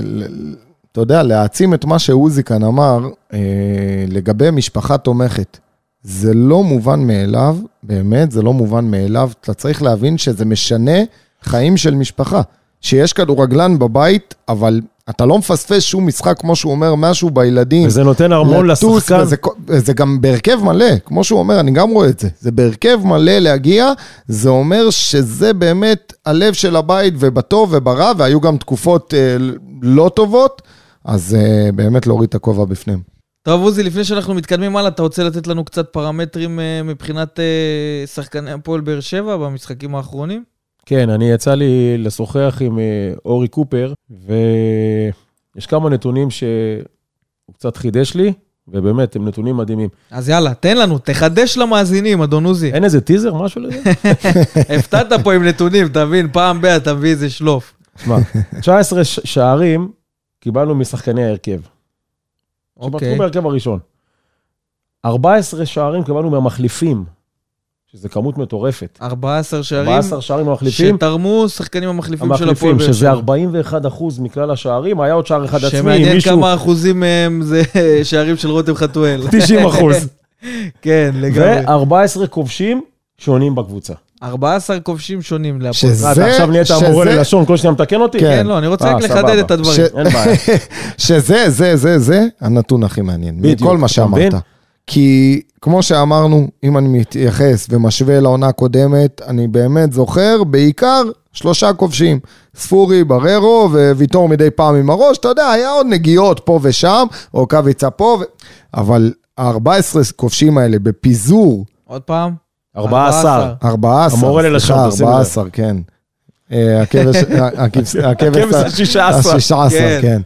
Speaker 3: ל- אתה יודע, להעצים את מה שעוזי כאן אמר אה, לגבי משפחה תומכת. זה לא מובן מאליו, באמת, זה לא מובן מאליו. אתה צריך להבין שזה משנה חיים של משפחה. שיש כדורגלן בבית, אבל אתה לא מפספס שום משחק, כמו שהוא אומר, משהו בילדים.
Speaker 4: וזה נותן ארמון
Speaker 3: לטוס,
Speaker 4: לשחקן.
Speaker 3: וזה, כל- זה גם בהרכב מלא, כמו שהוא אומר, אני גם רואה את זה. זה בהרכב מלא להגיע, זה אומר שזה באמת הלב של הבית ובטוב וברע, והיו גם תקופות אה, לא טובות, אז אה, באמת להוריד את הכובע בפניהם.
Speaker 2: טוב, עוזי, לפני שאנחנו מתקדמים הלאה, אתה רוצה לתת לנו קצת פרמטרים אה, מבחינת אה, שחקני הפועל באר שבע במשחקים האחרונים?
Speaker 4: כן, אני יצא לי לשוחח עם אה, אורי קופר, ויש כמה נתונים שהוא קצת חידש לי, ובאמת, הם נתונים מדהימים.
Speaker 2: אז יאללה, תן לנו, תחדש למאזינים, אדון עוזי.
Speaker 4: אין איזה טיזר, משהו לזה?
Speaker 2: הפתעת פה עם נתונים, תבין, פעם ב' אתה מביא איזה שלוף.
Speaker 4: תשמע, 19 ש- שערים קיבלנו משחקני ההרכב. שבחרו
Speaker 2: אוקיי.
Speaker 4: בהרכב הראשון. 14 שערים קיבלנו מהמחליפים, שזו כמות מטורפת.
Speaker 2: 14 שערים
Speaker 4: 14 שערים מהמחליפים,
Speaker 2: שתרמו שחקנים המחליפים של הפועל
Speaker 4: המחליפים,
Speaker 2: באר
Speaker 4: שזה
Speaker 2: שבע.
Speaker 4: 41 אחוז מכלל השערים, היה עוד שער אחד עצמי, עם
Speaker 2: שמעניין
Speaker 4: מישהו
Speaker 2: כמה אחוזים מהם זה שערים של רותם חתואל.
Speaker 4: 90 אחוז.
Speaker 2: כן, לגמרי.
Speaker 4: ו-14 כובשים שונים בקבוצה.
Speaker 2: 14 כובשים שונים להפועל.
Speaker 3: שזה-
Speaker 4: אה, אתה עכשיו נהיית
Speaker 3: שזה-
Speaker 4: המורה ללשון, כל שניה מתקן אותי?
Speaker 3: כן.
Speaker 2: כן, לא, אני רוצה
Speaker 4: אה,
Speaker 2: רק
Speaker 4: סבבה.
Speaker 2: לחדד את הדברים.
Speaker 3: ש-
Speaker 4: אין בעיה.
Speaker 3: שזה, זה, זה, זה, הנתון הכי מעניין.
Speaker 4: בדיוק,
Speaker 3: בדיוק. מכל מה
Speaker 4: אתה מבין?
Speaker 3: שאמרת. כי כמו שאמרנו, אם אני מתייחס ומשווה לעונה הקודמת, אני באמת זוכר בעיקר שלושה כובשים. ספורי, בררו וויטור מדי פעם עם הראש, אתה יודע, היה עוד נגיעות פה ושם, או קוויצה פה, ו... אבל ה-14 כובשים האלה בפיזור,
Speaker 2: עוד פעם?
Speaker 4: 14.
Speaker 3: 14,
Speaker 4: המורה ללשון,
Speaker 3: סליחה,
Speaker 4: תשים לב.
Speaker 3: 14, כן. אה, הכבש, הכבש,
Speaker 4: הכבש
Speaker 3: הכבש,
Speaker 4: השישה עשר.
Speaker 3: ה-16,
Speaker 2: כן.
Speaker 3: כן.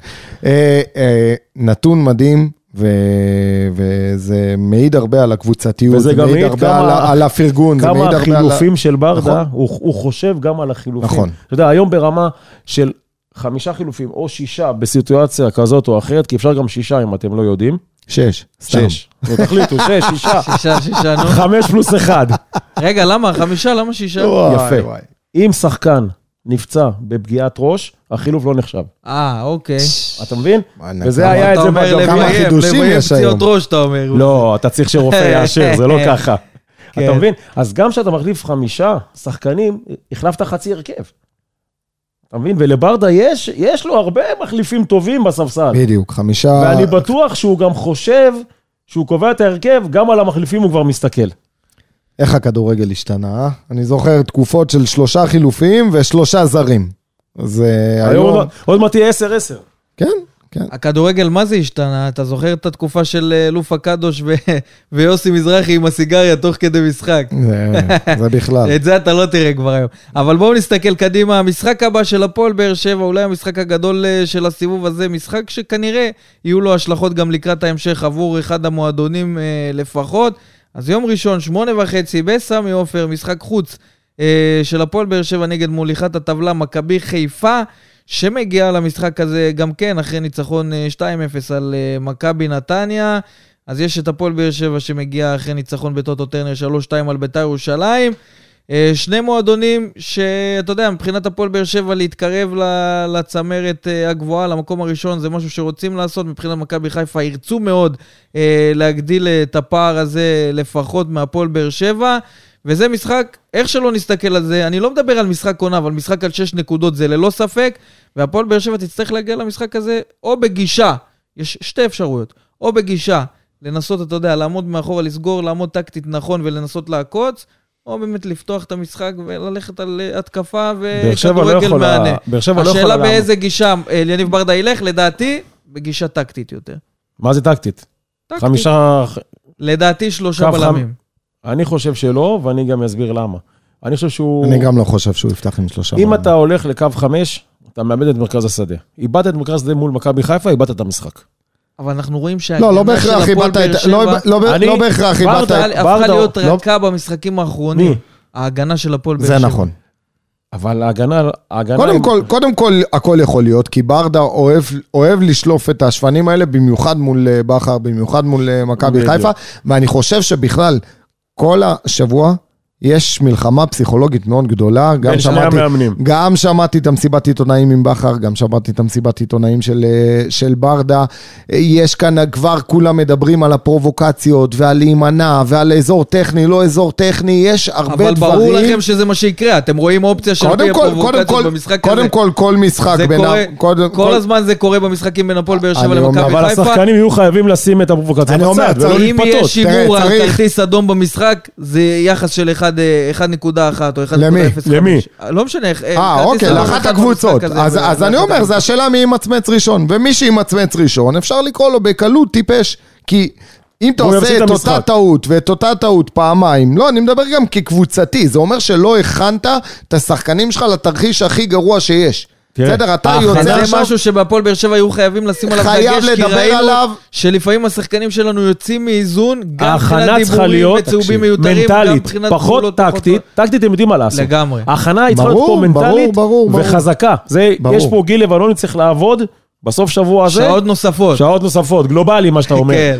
Speaker 3: אה, אה, נתון מדהים, ו- וזה מעיד הרבה על הקבוצתיות,
Speaker 4: וזה
Speaker 3: זה
Speaker 4: גם
Speaker 3: מעיד
Speaker 4: מעיד
Speaker 3: הרבה
Speaker 4: כמה-
Speaker 3: על ה- על הפרגון, זה
Speaker 4: כמה
Speaker 3: מעיד הרבה על... ה-
Speaker 4: החילופים של ברדה,
Speaker 3: נכון.
Speaker 4: הוא הוא חושב גם על החילופים.
Speaker 3: נכון.
Speaker 4: אתה יודע, היום ברמה של חמישה חילופים או שישה בסיטואציה כזאת או אחרת, כי אפשר גם שישה אם אתם לא יודעים.
Speaker 3: שש, סתם.
Speaker 4: שש. נו, תחליטו, שש, שישה.
Speaker 2: שישה, שישה, נו.
Speaker 4: חמש פלוס אחד.
Speaker 2: רגע, למה? חמישה? למה שישה?
Speaker 3: וואי,
Speaker 4: יפה.
Speaker 3: וואי.
Speaker 4: אם שחקן נפצע בפגיעת ראש, החילוף לא נחשב.
Speaker 2: אה, אוקיי.
Speaker 4: אתה מבין?
Speaker 3: וואי,
Speaker 4: וזה
Speaker 3: כמה-
Speaker 4: היה את
Speaker 2: אתה
Speaker 4: זה
Speaker 2: אומר
Speaker 4: בגב.
Speaker 3: כמה
Speaker 2: לביים,
Speaker 3: חידושים
Speaker 2: לביים
Speaker 3: יש
Speaker 2: פציעות
Speaker 3: היום.
Speaker 2: ראש, אתה אומר.
Speaker 4: לא, אתה צריך שרופא יאשר, זה לא ככה.
Speaker 2: כן.
Speaker 4: אתה מבין? אז גם כשאתה מחליף חמישה שחקנים, החלפת חצי הרכב. אתה מבין? ולברדה יש, יש לו הרבה מחליפים טובים בספסל.
Speaker 3: בדיוק, חמישה...
Speaker 4: ואני בטוח שהוא גם חושב, שהוא קובע את ההרכב, גם על המחליפים הוא כבר מסתכל.
Speaker 3: איך הכדורגל השתנה? אה? אני זוכר תקופות של שלושה חילופים ושלושה זרים. אז אה,
Speaker 4: היום
Speaker 3: היום...
Speaker 4: עוד- לא- עוד מעט יהיה 10-10.
Speaker 2: אה,
Speaker 3: כן, כן.
Speaker 2: הכדורגל, מה זה השתנה? אתה זוכר את התקופה של אה, לופה קדוש ו... ויוסי מזרחי עם הסיגריה תוך כדי משחק?
Speaker 3: זה- זה בכלל.
Speaker 2: את זה אתה לא תראה כבר היום. אבל בואו נסתכל קדימה. המשחק הבא של הפועל באר שבע, אולי המשחק הגדול אה, של הסיבוב הזה, משחק שכנראה יהיו לו השלכות גם לקראת ההמשך עבור אחד המועדונים אה, לפחות. אז יום ראשון, שמונה וחצי, בסמי עופר, משחק חוץ אה, של הפועל באר שבע נגד מוליכת הטבלה, מכבי חיפה. שמגיעה למשחק הזה גם כן, אחרי ניצחון אה, 2-0 על אה, מכבי נתניה. אז יש את הפועל באר שבע שמגיעה אחרי ניצחון בטוטו טרנר 3-2 על בית"ר ירושלים. אה, שני מועדונים שאתה יודע, מבחינת הפועל באר שבע להתקרב ל- לצמרת אה, הגבוהה, למקום הראשון, זה משהו שרוצים לעשות. מבחינת מכבי חיפה ירצו מאוד אה, להגדיל את הפער הזה לפחות מהפועל באר שבע. וזה משחק, איך שלא נסתכל על זה, אני לא מדבר על משחק עונה, אבל משחק על שש נקודות זה ללא ספק, והפועל באר שבע תצטרך להגיע למשחק הזה או בגישה, יש שתי אפשרויות, או בגישה לנסות, אתה יודע, לעמוד מאחורה, לסגור, לעמוד טקטית נכון ולנסות לעקוץ, או באמת לפתוח את המשחק וללכת על אה, התקפה
Speaker 4: באר שבע לא
Speaker 2: וכדורגל
Speaker 4: יכולה...
Speaker 2: מהנה.
Speaker 4: באר שבע לא יכולה...
Speaker 2: השאלה
Speaker 4: לעמוד.
Speaker 2: באיזה גישה אה, יניב ברדה ילך, לדעתי, בגישה טקטית יותר.
Speaker 4: מה זה טקטית?
Speaker 2: טקטית.
Speaker 4: חמישה...
Speaker 2: לדעתי שלושה
Speaker 4: קו חם-
Speaker 2: בלמים.
Speaker 4: אני חושב שלא, ואני גם אסביר למה. אני חושב שהוא...
Speaker 3: אני גם לא חושב שהוא יפתח עם שלושה.
Speaker 4: אם
Speaker 3: בלמים.
Speaker 4: אתה הולך לקו חמש, אתה מאבד את מרכז השדה. איבדת את מרכז השדה מול מכבי חיפה, איבדת את המשחק.
Speaker 2: אבל אנחנו רואים
Speaker 3: לא, לא
Speaker 2: שההגנה של
Speaker 3: בהכרח
Speaker 2: כן, הפועל
Speaker 3: איבדת
Speaker 2: באר
Speaker 3: את...
Speaker 2: שבע-
Speaker 3: לא, לא, ב-
Speaker 4: אני-
Speaker 3: לא בהכרח איבדת את...
Speaker 4: ברדה-
Speaker 2: ברדה הפכה
Speaker 4: ברדה-
Speaker 2: להיות
Speaker 4: לא-
Speaker 2: רכה במשחקים האחרונים.
Speaker 4: מי?
Speaker 2: ההגנה של הפועל באר
Speaker 3: זה
Speaker 2: שבע.
Speaker 3: נכון.
Speaker 4: אבל ההגנה... ההגנה
Speaker 3: קודם כל, קודם כל, הכל יכול להיות, כי ברדה אוהב, אוהב לשלוף את השפנים האלה, במיוחד מול אה, בכר, במיוחד מול אה, מכבי
Speaker 4: בדיוק.
Speaker 3: חיפה, ואני חושב שבכלל, כל השבוע יש מלחמה פסיכולוגית מאוד גדולה. גם
Speaker 4: בין שני
Speaker 3: שמעתי,
Speaker 4: המאמנים.
Speaker 3: גם שמעתי את המסיבת עיתונאים עם בכר, גם שמעתי את המסיבת עיתונאים של, אה, של ברדה. אה, יש כאן, כבר כולם מדברים על הפרובוקציות, ועל להימנע, ועל אזור טכני, לא אזור טכני, יש הרבה
Speaker 2: אבל
Speaker 3: דברים.
Speaker 2: ברור לכם שזה מה שיקרה, אתם רואים אופציה של פי
Speaker 3: קודם כל, קודם
Speaker 2: הפרובוקציות
Speaker 3: כל,
Speaker 2: במשחק הזה.
Speaker 3: קודם כל, כל משחק
Speaker 2: זה
Speaker 3: בין ה...
Speaker 2: קורה,
Speaker 3: קודם
Speaker 2: כל הזמן זה קורה במשחקים בין הפועל באר שבע
Speaker 3: אני אומר,
Speaker 2: למכבי
Speaker 4: אבל
Speaker 2: חיפה.
Speaker 4: השחקנים יהיו חייבים לשים את הפרובוקציה
Speaker 3: אני אומר,
Speaker 4: בצד, ולא
Speaker 3: צריך-
Speaker 2: אם
Speaker 4: להתפתות.
Speaker 2: יש שימור
Speaker 3: תראה,
Speaker 2: על
Speaker 3: צריך-
Speaker 2: כרטיס אדום במשחק, זה יחס של אחד, אה, 1.1 או 1.05.
Speaker 3: למי?
Speaker 4: למי?
Speaker 2: לא משנה. איך-
Speaker 3: אה,
Speaker 2: כרטיס
Speaker 3: אוקיי,
Speaker 2: אדום
Speaker 3: לאחת
Speaker 2: אחד
Speaker 3: הקבוצות.
Speaker 2: במשחק הזה,
Speaker 3: אז-
Speaker 2: זה-
Speaker 3: אז אני אומר, זה השאלה מי ימצמץ ראשון. ומי שימצמץ ראשון, אפשר לקרוא לו בקלות טיפש, כי... אם אתה
Speaker 4: הוא
Speaker 3: עושה
Speaker 4: יפסיד
Speaker 3: את
Speaker 4: את
Speaker 3: אותה
Speaker 4: המשחק.
Speaker 3: טעות ואת אותה טעות פעמיים, לא, אני מדבר גם כקבוצתי, זה אומר שלא הכנת את השחקנים שלך לתרחיש הכי גרוע שיש.
Speaker 4: תראה,
Speaker 3: בסדר, אתה
Speaker 4: ההכנה-
Speaker 3: יוצא
Speaker 2: זה
Speaker 3: עכשיו...
Speaker 2: משהו שבהפועל באר שבע היו חייבים לשים עליו
Speaker 3: חייב
Speaker 2: דגש, כי
Speaker 3: לדבר
Speaker 2: ראינו
Speaker 3: עליו.
Speaker 2: שלפעמים השחקנים שלנו יוצאים מאיזון, גם
Speaker 4: ההכנה
Speaker 2: מבחינת
Speaker 4: צריכה
Speaker 2: דיבורים
Speaker 4: להיות
Speaker 2: וצהובים מיותרים, גם
Speaker 4: מנטלית,
Speaker 2: מבחינת
Speaker 4: פחות
Speaker 2: פעולות
Speaker 4: טקטית. טקטית הם יודעים מה לעשות.
Speaker 2: לגמרי.
Speaker 4: ההכנה היא צריכה
Speaker 3: ברור,
Speaker 4: להיות פה מנטלית
Speaker 3: ברור, ברור, ברור.
Speaker 4: וחזקה. זה-
Speaker 3: ברור.
Speaker 4: יש פה גיל לבנוני צריך לעבוד בסוף שבוע הזה.
Speaker 2: שעות נוספות.
Speaker 4: שעות נוספות, גלובלי מה שאתה אומר.
Speaker 2: כן.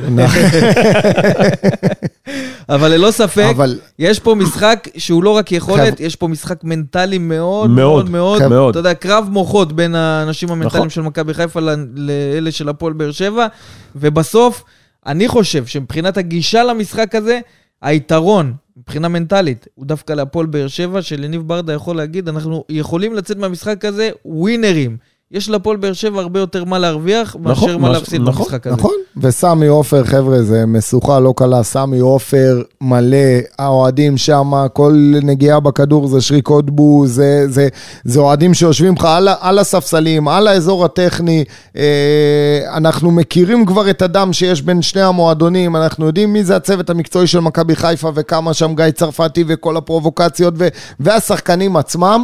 Speaker 2: אבל ללא ספק,
Speaker 3: אבל-
Speaker 2: יש פה משחק שהוא לא רק יכולת,
Speaker 3: חב-
Speaker 2: יש פה משחק מנטלי מאוד מאוד
Speaker 4: מאוד,
Speaker 2: מאוד,
Speaker 4: חב-
Speaker 2: אתה יודע, קרב מוחות בין האנשים המנטליים
Speaker 4: נכון.
Speaker 2: של מכבי חיפה ל- לאלה של הפועל באר שבע, ובסוף, אני חושב שמבחינת הגישה למשחק הזה, היתרון, מבחינה מנטלית, הוא דווקא להפועל באר שבע, שלניב ברדה יכול להגיד, אנחנו יכולים לצאת מהמשחק הזה ווינרים. יש להפועל באר שבע הרבה יותר מה להרוויח, מאשר
Speaker 4: נכון,
Speaker 2: מה
Speaker 4: מה ש-
Speaker 2: להפסיד
Speaker 4: נכון,
Speaker 2: במשחק הזה.
Speaker 3: נכון, וסמי עופר, חבר'ה, זה משוכה לא קלה, סמי עופר מלא, האוהדים שם, כל נגיעה בכדור זה שריק הודבו, זה, זה, זה אוהדים שיושבים לך על, ה- על הספסלים, על האזור הטכני, אה, אנחנו מכירים כבר את הדם שיש בין שני המועדונים, אנחנו יודעים מי זה הצוות המקצועי של מכבי חיפה וכמה שם גיא צרפתי וכל הפרובוקציות ו, והשחקנים עצמם,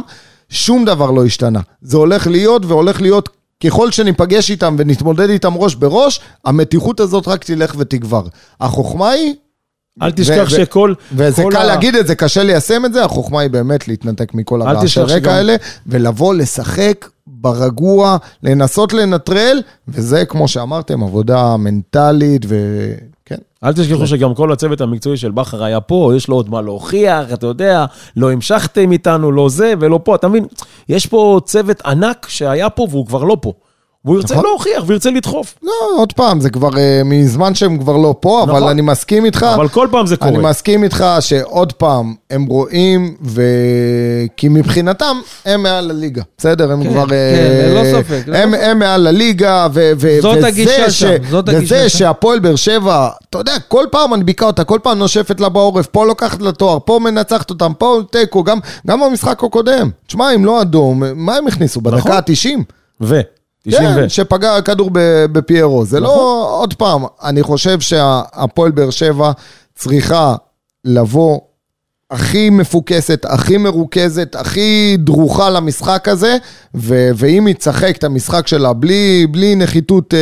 Speaker 3: שום דבר לא השתנה. זה הולך להיות והולך להיות ככל שניפגש איתם ונתמודד איתם ראש בראש, המתיחות הזאת רק תלך ותגבר. החוכמה היא,
Speaker 4: אל תשכח
Speaker 3: ו-
Speaker 4: שכל...
Speaker 3: וזה
Speaker 4: כל
Speaker 3: קל
Speaker 4: ה-
Speaker 3: להגיד את זה, קשה ליישם את זה, החוכמה היא באמת להתנתק מכל
Speaker 4: אל
Speaker 3: הרעשי
Speaker 4: תשכח
Speaker 3: רקע
Speaker 4: שגם-
Speaker 3: האלה, ולבוא לשחק ברגוע, לנסות לנטרל, וזה, כמו שאמרתם, עבודה מנטלית, כן. וכן.
Speaker 4: אל תשכחו שגם כל הצוות המקצועי של בכר היה פה, יש לו עוד מה להוכיח, אתה יודע, לא המשכתם איתנו, לא זה ולא פה, אתה מבין? יש פה צוות ענק שהיה פה והוא כבר לא פה. והוא ירצה
Speaker 3: נכון.
Speaker 4: להוכיח וירצה לדחוף.
Speaker 3: לא, עוד פעם, זה כבר אה, מזמן שהם כבר לא פה, אבל
Speaker 4: נכון.
Speaker 3: אני מסכים איתך.
Speaker 4: אבל כל פעם זה
Speaker 3: אה, אני
Speaker 4: קורה.
Speaker 3: מסכים איתך שעוד פעם, הם רואים, ו... כי מבחינתם, הם מעל הליגה. בסדר, הם
Speaker 2: כן,
Speaker 3: כבר...
Speaker 2: כן,
Speaker 3: אה,
Speaker 2: ללא ספק, ללא
Speaker 3: הם,
Speaker 2: ספק.
Speaker 3: הם מעל הליגה, ו... ו-
Speaker 2: זאת
Speaker 3: וזה
Speaker 2: הגישה
Speaker 3: ש...
Speaker 2: שם, זאת הגישה
Speaker 3: וזה
Speaker 2: שם.
Speaker 3: שהפועל באר שבע, אתה יודע, כל פעם מנביקה אותה, כל פעם נושפת לה בעורף, פה לוקחת לה תואר, פה מנצחת אותם, פה תיקו, גם, גם במשחק הקודם. תשמע, אם לא אדום, מה הם הכניסו?
Speaker 4: נכון.
Speaker 3: בדקה ה-90?
Speaker 4: ו... 90 ו... נכון.
Speaker 3: כן, שפגע הכדור ב- בפיירו. זה לא, עוד פעם, אני חושב שהפועל באר שבע צריכה לבוא הכי מפוקסת, הכי מרוכזת, הכי דרוכה למשחק הזה, ו- ואם היא תשחק את המשחק שלה בלי, בלי נחיתות, אה,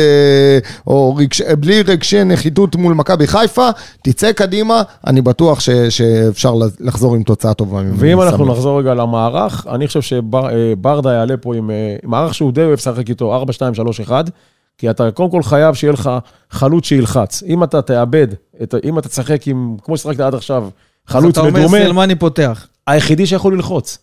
Speaker 3: או רגש, אה, בלי רגשי נחיתות מול מכבי חיפה, תצא קדימה, אני בטוח ש- שאפשר לחזור עם תוצאה טובה.
Speaker 4: ואם אנחנו
Speaker 3: מסביב.
Speaker 4: נחזור רגע למערך, אני חושב שברדה יעלה פה עם אה, מערך שהוא די אוהב לשחק איתו, 4, 2, 3, 1, כי אתה קודם כל חייב שיהיה לך חלוץ שילחץ. אם אתה תאבד, את ה- אם אתה תשחק עם, כמו ששחקת עד עכשיו, חלוץ
Speaker 2: אז אתה אומר
Speaker 4: מדומה,
Speaker 2: סלמני פותח.
Speaker 4: היחידי שיכול ללחוץ.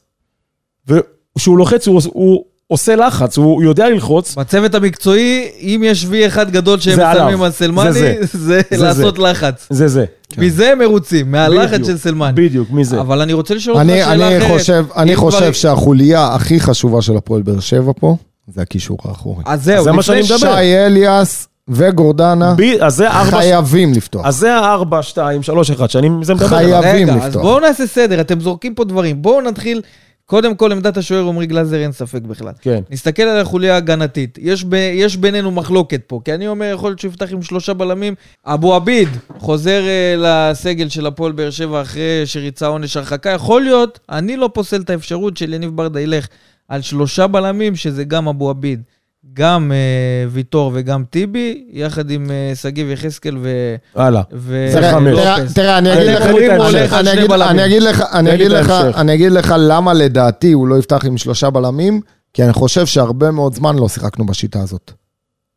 Speaker 4: וכשהוא לוחץ, הוא, הוא עושה לחץ, הוא יודע ללחוץ.
Speaker 2: בצוות המקצועי, אם יש וי אחד גדול שהם
Speaker 4: זה עליו.
Speaker 2: שמים על סלמני,
Speaker 4: זה
Speaker 2: זה, זה,
Speaker 4: זה
Speaker 2: לעשות לחץ.
Speaker 4: זה זה.
Speaker 2: מזה הם מרוצים, מהלחץ
Speaker 4: בדיוק,
Speaker 2: של סלמני.
Speaker 4: בדיוק, מזה.
Speaker 2: אבל אני רוצה לשאול אותך
Speaker 3: אני,
Speaker 2: שאלה
Speaker 3: אני
Speaker 2: אחרת.
Speaker 3: חושב, אני
Speaker 2: אם
Speaker 3: חושב
Speaker 2: כבר-
Speaker 3: שהחוליה הכי חשובה של הפועל באר שבע פה, זה הקישור האחורי.
Speaker 2: אז זהו,
Speaker 4: זה מה שאני
Speaker 2: לפני ש-
Speaker 4: מדבר.
Speaker 3: שי אליאס וגורדנה
Speaker 4: ב... אז זה ארבע...
Speaker 3: חייבים לפתוח.
Speaker 4: אז זה הארבע, שתיים, שלוש, אחד, שאני זה מדבר
Speaker 3: חייב.
Speaker 4: עליו.
Speaker 3: חייבים
Speaker 2: רגע, אז
Speaker 3: לפתוח.
Speaker 2: בואו נעשה סדר, אתם זורקים פה דברים. בואו נתחיל, קודם כל עמדת השוער עמרי גלאזר, אין ספק בכלל.
Speaker 4: כן.
Speaker 2: נסתכל על החוליה ההגנתית. יש, ב, יש בינינו מחלוקת פה, כי אני אומר, יכול להיות שהוא יפתח עם שלושה בלמים. אבו עביד חוזר uh, לסגל של הפועל באר שבע אחרי שריצה עונש הרחקה. יכול להיות, אני לא פוסל את האפשרות של יניב ברדה ילך על שלושה בלמים, שזה גם אבו עביד, גם אה, ויטור וגם טיבי, יחד עם אה, שגיב יחזקאל ו...
Speaker 4: הלאה.
Speaker 2: ו-
Speaker 4: זה
Speaker 3: תראה,
Speaker 4: חמש. אוקיי.
Speaker 3: תראה,
Speaker 2: לופס.
Speaker 3: תראה, אני אגיד
Speaker 4: אתם
Speaker 3: לך,
Speaker 4: יכולים
Speaker 3: אני-
Speaker 4: הולך
Speaker 2: על
Speaker 3: אני
Speaker 2: שני
Speaker 3: אגיד-
Speaker 2: בלמים.
Speaker 3: אני אגיד לך, אני
Speaker 4: תן לי
Speaker 3: אגיד
Speaker 4: את
Speaker 3: לך,
Speaker 4: ההמשך.
Speaker 3: אני אגיד לך למה לדעתי הוא לא יפתח עם שלושה בלמים, כי אני חושב שהרבה מאוד זמן לא שיחקנו בשיטה הזאת.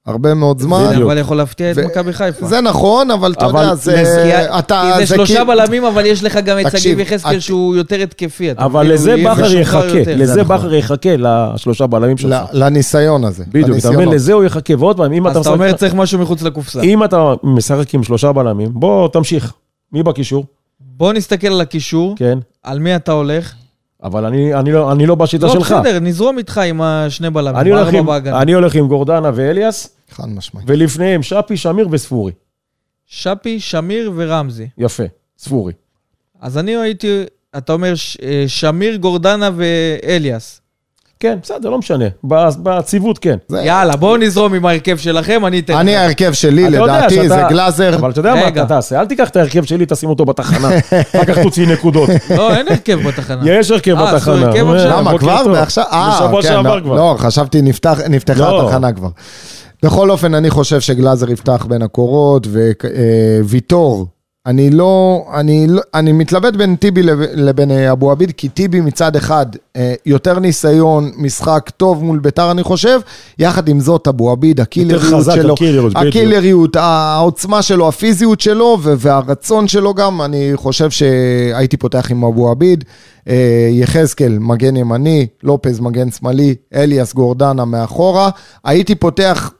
Speaker 3: הרבה מאוד זמן.
Speaker 2: הנה, אבל יכול להפתיע את
Speaker 3: ו-
Speaker 2: מכבי חיפה.
Speaker 3: זה נכון, אבל אתה
Speaker 4: אבל
Speaker 3: יודע,
Speaker 2: כי
Speaker 3: זה... אה, אתה-
Speaker 2: כי זה
Speaker 3: כאילו-
Speaker 2: שלושה בלמים, אבל יש לך גם את
Speaker 3: תקשיב,
Speaker 2: שגיב יחזקאל
Speaker 3: את-
Speaker 2: שהוא יותר התקפי. אתה כאילו,
Speaker 4: אבל
Speaker 2: מבין?
Speaker 4: לזה
Speaker 2: הוא יהיה
Speaker 4: בכר
Speaker 2: משוחרר
Speaker 4: יחכה,
Speaker 2: יותר. לא,
Speaker 4: לזה
Speaker 3: נכון.
Speaker 4: בכר יחכה, לשלושה בלמים שלך.
Speaker 3: ל- לניסיון הזה.
Speaker 4: בדיוק, אתה מבין?
Speaker 3: לניסיונות.
Speaker 4: לזה הוא יחכה. ועוד פעם, אם
Speaker 2: אז
Speaker 4: אתה
Speaker 2: אתה
Speaker 4: משחק-
Speaker 2: אומר צריך משהו מחוץ לקופסה.
Speaker 4: אם אתה משחק עם שלושה בלמים, בוא, תמשיך. מי בקישור?
Speaker 2: בוא נסתכל על הקישור,
Speaker 4: כן.
Speaker 2: על מי אתה הולך.
Speaker 4: אבל אני- אני לא- אני לא בשיטה
Speaker 2: לא,
Speaker 4: שלך.
Speaker 2: בסדר, נזרום איתך עם השני בלמים.
Speaker 4: אני הולך
Speaker 2: ארבע
Speaker 4: עם-
Speaker 2: בהגנה.
Speaker 4: אני הולך עם גורדנה ואליאס,
Speaker 3: חד משמעית.
Speaker 4: ולפניהם שפי, שמיר וספורי.
Speaker 2: שפי, שמיר ורמזי.
Speaker 4: יפה, ספורי.
Speaker 2: אז אני הייתי, אתה אומר ש- אה, שמיר, גורדנה ואליאס.
Speaker 4: כן, בסדר, לא משנה. ב- בעציבות כן.
Speaker 3: זה-
Speaker 2: יאללה, בואו נזרום עם ההרכב שלכם, אני אתן.
Speaker 3: אה, אני,
Speaker 2: לך.
Speaker 3: ההרכב שלי,
Speaker 4: אתה יודע
Speaker 3: לדעתי,
Speaker 4: שאתה-
Speaker 3: זה גלאזר.
Speaker 4: אבל אתה יודע מה
Speaker 2: רגע.
Speaker 4: אתה תעשה, אל תיקח את ההרכב שלי, תשים אותו בתחנה. אחר כך תוציא נקודות.
Speaker 2: לא, אין הרכב בתחנה.
Speaker 4: יש הרכב
Speaker 2: אה, עשו
Speaker 4: בתחנה.
Speaker 2: הרכב עכשיו?
Speaker 4: אה,
Speaker 3: למה,
Speaker 4: בוקר
Speaker 3: כבר?
Speaker 4: טוב.
Speaker 3: מעכשיו? אה,
Speaker 4: בשבוע
Speaker 3: כן,
Speaker 4: שעבר
Speaker 3: לא-
Speaker 4: כבר.
Speaker 3: לא, חשבתי נפתח- נפתחה
Speaker 4: לא.
Speaker 3: התחנה כבר. בכל אופן, אני חושב שגלאזר יפתח בין הקורות, וויטור. אני לא, אני לא, אני מתלבט בין טיבי לב- לבין אה, אבו עביד, כי טיבי מצד אחד אה, יותר ניסיון, משחק טוב מול ביתר, אני חושב. יחד עם זאת, אבו עביד, הקילריות
Speaker 4: חזק,
Speaker 3: שלו,
Speaker 4: הקילריות, בדיוק.
Speaker 3: הקילריות, העוצמה שלו, הפיזיות שלו ו- והרצון שלו גם, אני חושב שהייתי פותח עם אבו עביד, אה, יחזקאל, מגן ימני, לופז, מגן שמאלי, אליאס גורדנה מאחורה. הייתי פותח,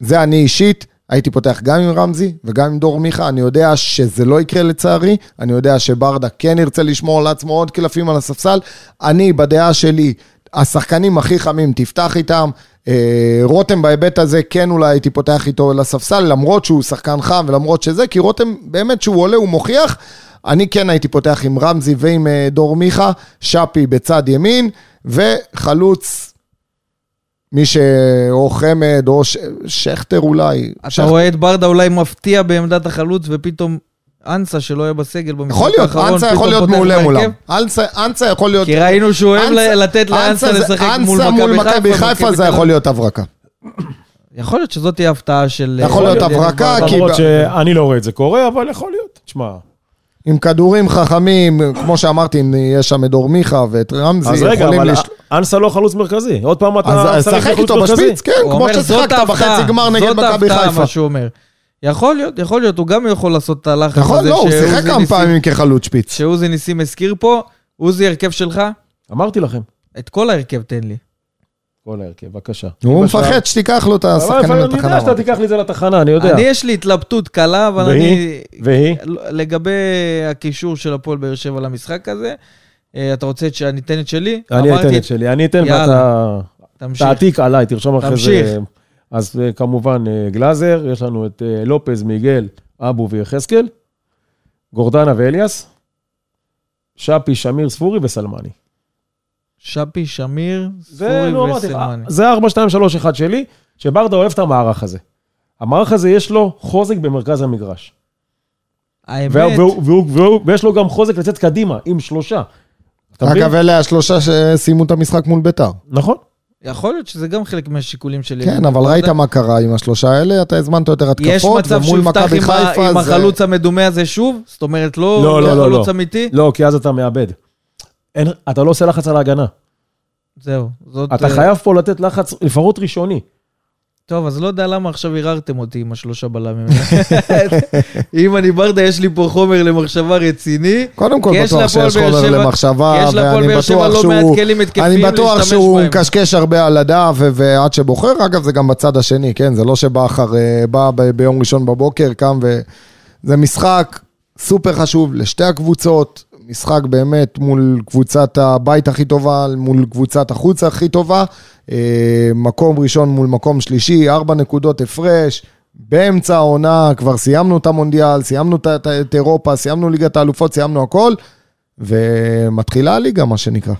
Speaker 3: זה אני אישית, הייתי פותח גם עם רמזי וגם עם דור מיכה, אני יודע שזה לא יקרה לצערי, אני יודע שברדה כן ירצה לשמור על עצמו עוד קלפים על הספסל. אני, בדעה שלי, השחקנים הכי חמים, תפתח איתם. אה, רותם בהיבט הזה, כן אולי הייתי פותח איתו לספסל, למרות שהוא שחקן חם ולמרות שזה, כי רותם, באמת שהוא עולה, הוא מוכיח. אני כן הייתי פותח עם רמזי ועם אה, דור מיכה, שפי בצד ימין, וחלוץ, מי ש... או חמד, או ש... שכטר אולי.
Speaker 2: אתה רואה את ברדה אולי מפתיע בעמדת החלוץ, ופתאום אנסה שלא יהיה בסגל במשחק
Speaker 3: יכול להיות,
Speaker 2: האחרון,
Speaker 3: אנסה
Speaker 2: פתאום
Speaker 3: יכול להיות
Speaker 2: פותח
Speaker 3: מעולה
Speaker 2: בהרכב.
Speaker 3: מולם. אנסה, אנסה יכול להיות...
Speaker 2: כי ראינו שהוא אוהב
Speaker 3: אנסה-
Speaker 2: ל- לתת לאנסה
Speaker 3: זה-
Speaker 2: לשחק
Speaker 3: אנסה
Speaker 2: מול מכבי חיפה.
Speaker 3: חיפה זה
Speaker 2: תל
Speaker 3: יכול
Speaker 2: אביב.
Speaker 3: להיות הברקה.
Speaker 2: יכול להיות שזאת תהיה הפתעה של...
Speaker 3: יכול להיות
Speaker 2: של-
Speaker 3: הברקה,
Speaker 2: ברדה.
Speaker 3: כי-
Speaker 4: למרות
Speaker 3: ב-
Speaker 4: שאני לא רואה את זה קורה, אבל יכול להיות. תשמע,
Speaker 3: עם כדורים חכמים, כמו שאמרתי, אם יש שם את דור מיכה ואת רמזי,
Speaker 4: אז רגע,
Speaker 3: יכולים
Speaker 4: אבל
Speaker 3: לש-
Speaker 4: אנסה לא חלוץ מרכזי. עוד פעם אתה
Speaker 3: אז אז שחק איתו בשפיץ, כן,
Speaker 2: הוא
Speaker 3: כמו
Speaker 2: אומר, "זאת
Speaker 3: ששחקת
Speaker 2: ההפתעה,
Speaker 3: בחצי גמר נגד מכבי
Speaker 2: זאת ההפתעה,
Speaker 3: חיפה.
Speaker 2: מה שהוא אומר. יכול להיות, יכול להיות, הוא גם יכול לעשות את הלחץ הזה.
Speaker 3: נכון, לא, הוא
Speaker 2: שעוזי
Speaker 3: שיחק כמה
Speaker 2: ניסים-
Speaker 3: פעמים כחלוץ שפיץ.
Speaker 2: שעוזי ניסים הזכיר פה, עוזי, הרכב שלך,
Speaker 4: אמרתי לכם.
Speaker 2: את כל ההרכב תן לי.
Speaker 4: כל ההרכב, בבקשה.
Speaker 3: הוא
Speaker 4: בשער.
Speaker 3: מפחד שתיקח לו את השחקנים
Speaker 4: אבל אני יודע
Speaker 3: לתחנה.
Speaker 4: שאתה תיקח לי את זה לתחנה, אני יודע.
Speaker 2: אני, יש לי התלבטות קלה, אבל אני...
Speaker 4: והיא? והיא?
Speaker 2: לא, לגבי הקישור של הפועל באר שבע למשחק הזה, אה, אתה רוצה שאני אתן את שלי?
Speaker 4: אני
Speaker 2: אמרתי,
Speaker 4: אתן את שלי, אני אתן
Speaker 2: יאללה.
Speaker 4: ואתה...
Speaker 2: תמשיך.
Speaker 4: תעתיק עליי, תרשום אחרי זה.
Speaker 2: תמשיך.
Speaker 4: אז אה, כמובן אה, גלאזר, יש לנו את אה, לופז, מיגל, אבו ויחזקאל, גורדנה ואליאס, שפי, שמיר, ספורי וסלמני.
Speaker 2: שפי, שמיר,
Speaker 4: זה, נו,
Speaker 2: ספורי
Speaker 4: אמרתי לך,
Speaker 2: וסלמני.
Speaker 4: זה 4, 2, 3, 1 שלי, שברדה אוהב את המערך הזה. המערך הזה יש לו חוזק במרכז המגרש. והוא-
Speaker 2: האמת,
Speaker 4: והוא- והוא- והוא- ויש לו גם חוזק לצאת קדימה, עם שלושה. אתה מבין?
Speaker 3: אגב, אלה השלושה שסיימו את המשחק מול ביתר.
Speaker 4: נכון.
Speaker 2: יכול להיות שזה גם חלק מהשיקולים שלי.
Speaker 3: כן, אבל ראית מה קרה עם השלושה האלה, אתה הזמנת יותר
Speaker 2: יש
Speaker 3: התקפות,
Speaker 2: מצב שהוא
Speaker 3: ומול
Speaker 2: יפתח
Speaker 3: מכבי
Speaker 2: עם ה-
Speaker 3: חיפה
Speaker 2: עם
Speaker 3: זה...
Speaker 2: החלוץ המדומה הזה שוב? זאת אומרת, לא
Speaker 4: לא,
Speaker 2: לא
Speaker 4: לא, לא,
Speaker 2: חלוץ
Speaker 4: לא.
Speaker 2: אמיתי?
Speaker 4: לא, כי אז אתה מאבד. אין, אתה לא עושה לחץ על ההגנה.
Speaker 2: זהו. זאת,
Speaker 4: אתה
Speaker 2: אה,
Speaker 4: חייב פה לתת לחץ, לפחות ראשוני.
Speaker 2: טוב, אז לא יודע למה עכשיו ערערתם אותי עם השלושה בלמים. אם אני ברדה, יש לי פה חומר למחשבה רציני.
Speaker 3: קודם כל
Speaker 2: כי יש
Speaker 3: בטוח
Speaker 2: להפועל
Speaker 3: שיש
Speaker 2: באר
Speaker 3: חומר
Speaker 2: שבע- כי
Speaker 3: למחשבה,
Speaker 2: יש להפועל
Speaker 3: ואני
Speaker 2: באר שבע
Speaker 3: בטוח
Speaker 2: לא מעט
Speaker 3: שהוא...
Speaker 2: כלים התקפיים
Speaker 3: אני בטוח
Speaker 2: להשתמש
Speaker 3: שהוא
Speaker 2: בהם.
Speaker 3: מקשקש הרבה על הדף ו- ועד שבוחר, אגב זה גם בצד השני, כן? זה לא שבכר אה, בא ב- ביום ראשון בבוקר, קם ו... זה משחק סופר חשוב לשתי הקבוצות, משחק באמת מול קבוצת הבית הכי טובה, מול קבוצת החוץ הכי טובה, אה, מקום ראשון מול מקום שלישי, ארבע נקודות הפרש. באמצע העונה כבר סיימנו את המונדיאל, סיימנו את- את את אירופה, סיימנו ליגת האלופות, סיימנו הכל, ומתחילה הליגה, מה שנקרא.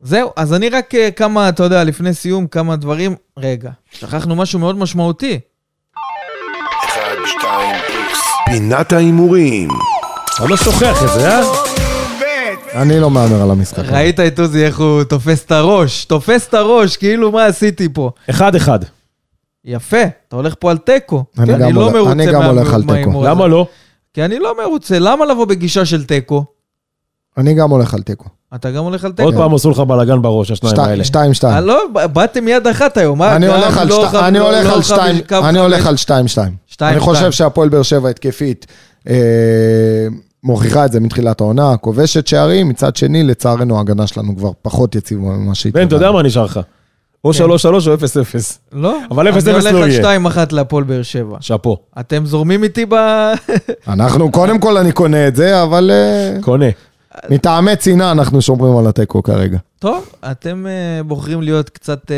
Speaker 2: זהו, אז אני רק אה, כמה, אתה יודע, לפני סיום, כמה דברים. רגע, שכחנו משהו מאוד משמעותי.
Speaker 1: פינת ההימורים.
Speaker 4: אתה לא שוכח את זה, אה?
Speaker 6: בית.
Speaker 3: אני לא מהמר על המשחק. הזה.
Speaker 2: ראית את עוזי איך הוא תופס את הראש, תופס את הראש, כאילו מה עשיתי פה.
Speaker 4: אחד אחד.
Speaker 2: יפה, אתה הולך פה על תיקו.
Speaker 3: אני
Speaker 2: כי
Speaker 3: גם
Speaker 2: לא
Speaker 3: הולך-
Speaker 2: מרוצה
Speaker 3: אני גם הולך על
Speaker 2: מההימור
Speaker 3: תיקו.
Speaker 2: הזה.
Speaker 4: למה לא?
Speaker 2: כי אני לא מרוצה, למה לבוא בגישה של תיקו?
Speaker 3: אני גם הולך על תיקו.
Speaker 2: אתה גם הולך על תיקו.
Speaker 4: עוד פעם עשו לך בלאגן בראש, השניים
Speaker 3: שתי-
Speaker 4: האלה.
Speaker 3: שתיים,
Speaker 2: אה,
Speaker 3: שתיים.
Speaker 2: לא, ב- באתם יד אחת היום, מה?
Speaker 3: אני
Speaker 2: גם
Speaker 3: הולך על
Speaker 2: לא
Speaker 3: שתי-
Speaker 2: חב-
Speaker 3: אני
Speaker 2: לא-
Speaker 3: הולך
Speaker 2: לא
Speaker 3: על
Speaker 2: חב-
Speaker 3: שתיים,
Speaker 2: קו
Speaker 3: אני הולך
Speaker 2: חמש.
Speaker 3: על שתיים, שתיים.
Speaker 2: שתיים,
Speaker 3: אני חושב
Speaker 2: שתיים.
Speaker 3: שהפועל באר שבע התקפית אה, מוכיחה את זה מתחילת העונה, כובשת שערים, מצד שני, לצערנו ההגנה שלנו כבר פחות יציבה ממה שהיא...
Speaker 4: בן, אתה יודע מה נשאר לך?
Speaker 3: כן.
Speaker 4: או 3-3 או 0-0.
Speaker 2: לא.
Speaker 4: אבל אפס אפס
Speaker 2: אני
Speaker 4: לא
Speaker 2: הולך
Speaker 4: יהיה.
Speaker 2: על שתיים אחת להפועל באר שבע.
Speaker 4: שאפו,
Speaker 2: אתם זורמים איתי ב...
Speaker 3: אנחנו, קודם כל אני קונה את זה, אבל אה,
Speaker 4: קונה.
Speaker 3: מטעמי צנעה אנחנו שומרים על התיקו כרגע.
Speaker 2: טוב, אתם אה, בוחרים להיות קצת... אה,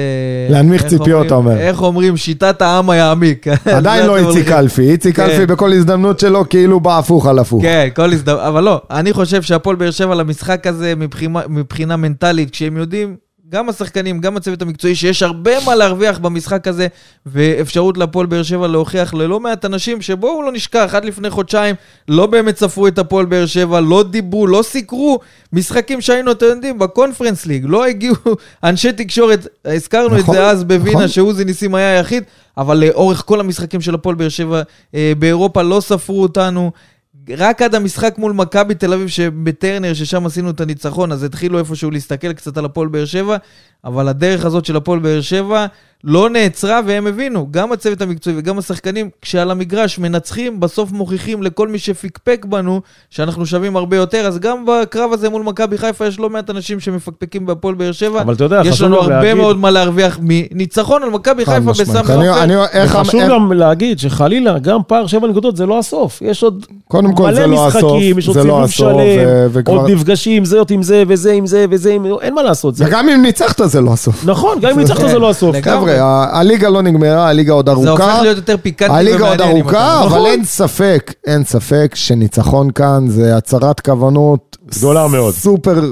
Speaker 3: להנמיך
Speaker 2: איך
Speaker 3: ציפיות,
Speaker 2: אומרים-
Speaker 3: אתה אומר.
Speaker 2: איך אומרים? שיטת העם היעמיק. על זה
Speaker 3: עדיין לא
Speaker 2: אתם
Speaker 3: איציק
Speaker 2: הולכים.
Speaker 3: אלפי, איציק
Speaker 2: כן.
Speaker 3: אלפי בכל הזדמנות שלו כאילו בא הפוך על הפוך.
Speaker 2: כן, כל הזדמנות, אבל לא, אני חושב שהפועל באר שבע למשחק הזה מבחינה, מבחינה מנטלית, כשהם יודעים, גם השחקנים, גם הצוות המקצועי, שיש הרבה מה להרוויח במשחק הזה, ואפשרות להפועל באר שבע להוכיח ללא מעט אנשים שבואו לא נשכח, עד לפני חודשיים לא באמת ספרו את הפועל באר שבע, לא דיברו, לא סיקרו, משחקים שהיינו, אתם יודעים, בקונפרנס ליג, לא הגיעו אנשי תקשורת, הזכרנו את
Speaker 3: נכון,
Speaker 2: זה אז בווינה,
Speaker 3: נכון.
Speaker 2: שעוזי ניסים היה היחיד, אבל לאורך כל המשחקים של הפועל באר שבע אה, באירופה לא ספרו אותנו. רק עד המשחק מול מכבי תל אביב שבטרנר, ששם עשינו את הניצחון, אז התחילו איפשהו להסתכל קצת על הפועל באר שבע, אבל הדרך הזאת של הפועל באר שבע לא נעצרה, והם הבינו, גם הצוות המקצועי וגם השחקנים, כשעל המגרש מנצחים, בסוף מוכיחים לכל מי שפקפק בנו שאנחנו שווים הרבה יותר, אז גם בקרב הזה מול מכבי חיפה יש לא מעט אנשים שמפקפקים בהפועל באר שבע.
Speaker 4: אבל אתה יודע,
Speaker 2: יש
Speaker 4: חשוב
Speaker 2: לנו
Speaker 4: גם
Speaker 2: הרבה
Speaker 4: להגיד-
Speaker 2: מאוד מה להרוויח מניצחון על מכבי
Speaker 3: חד
Speaker 2: חיפה
Speaker 3: משמעית.
Speaker 2: בסמי
Speaker 3: אני-
Speaker 2: עופר.
Speaker 3: אני- לא, איך- אמ-
Speaker 4: וחשוב
Speaker 3: איך-
Speaker 4: גם להגיד שחלילה, גם פער שבע נקודות זה לא הסוף. יש עוד
Speaker 3: קודם כל, זה
Speaker 4: מלא
Speaker 3: לא הסוף,
Speaker 4: משחקים, יש עוד
Speaker 3: זה לא
Speaker 4: סיבוב
Speaker 3: הסוף,
Speaker 4: שלם,
Speaker 3: ו- וכבר-
Speaker 4: עוד נפגשים, זה עם זה, וזה עם זה, וזה עם... אין מה לעשות. זה-
Speaker 3: וגם אם ניצחת זה לא הסוף.
Speaker 4: נכון, גם אם ניצחת זה לא הסוף.
Speaker 2: לגמרי.
Speaker 3: חבר'ה, ה- הליגה לא נגמרה, הליגה עוד
Speaker 2: זה
Speaker 3: ארוכה.
Speaker 2: הופך להיות יותר פיקנטי ומעניין.
Speaker 3: הליגה עוד
Speaker 2: אם
Speaker 3: ארוכה,
Speaker 2: אתה-
Speaker 3: אבל
Speaker 4: נכון.
Speaker 3: אין ספק, אין ספק שניצחון כאן זה הצהרת כוונות.
Speaker 4: גדולה מאוד.
Speaker 3: סופר,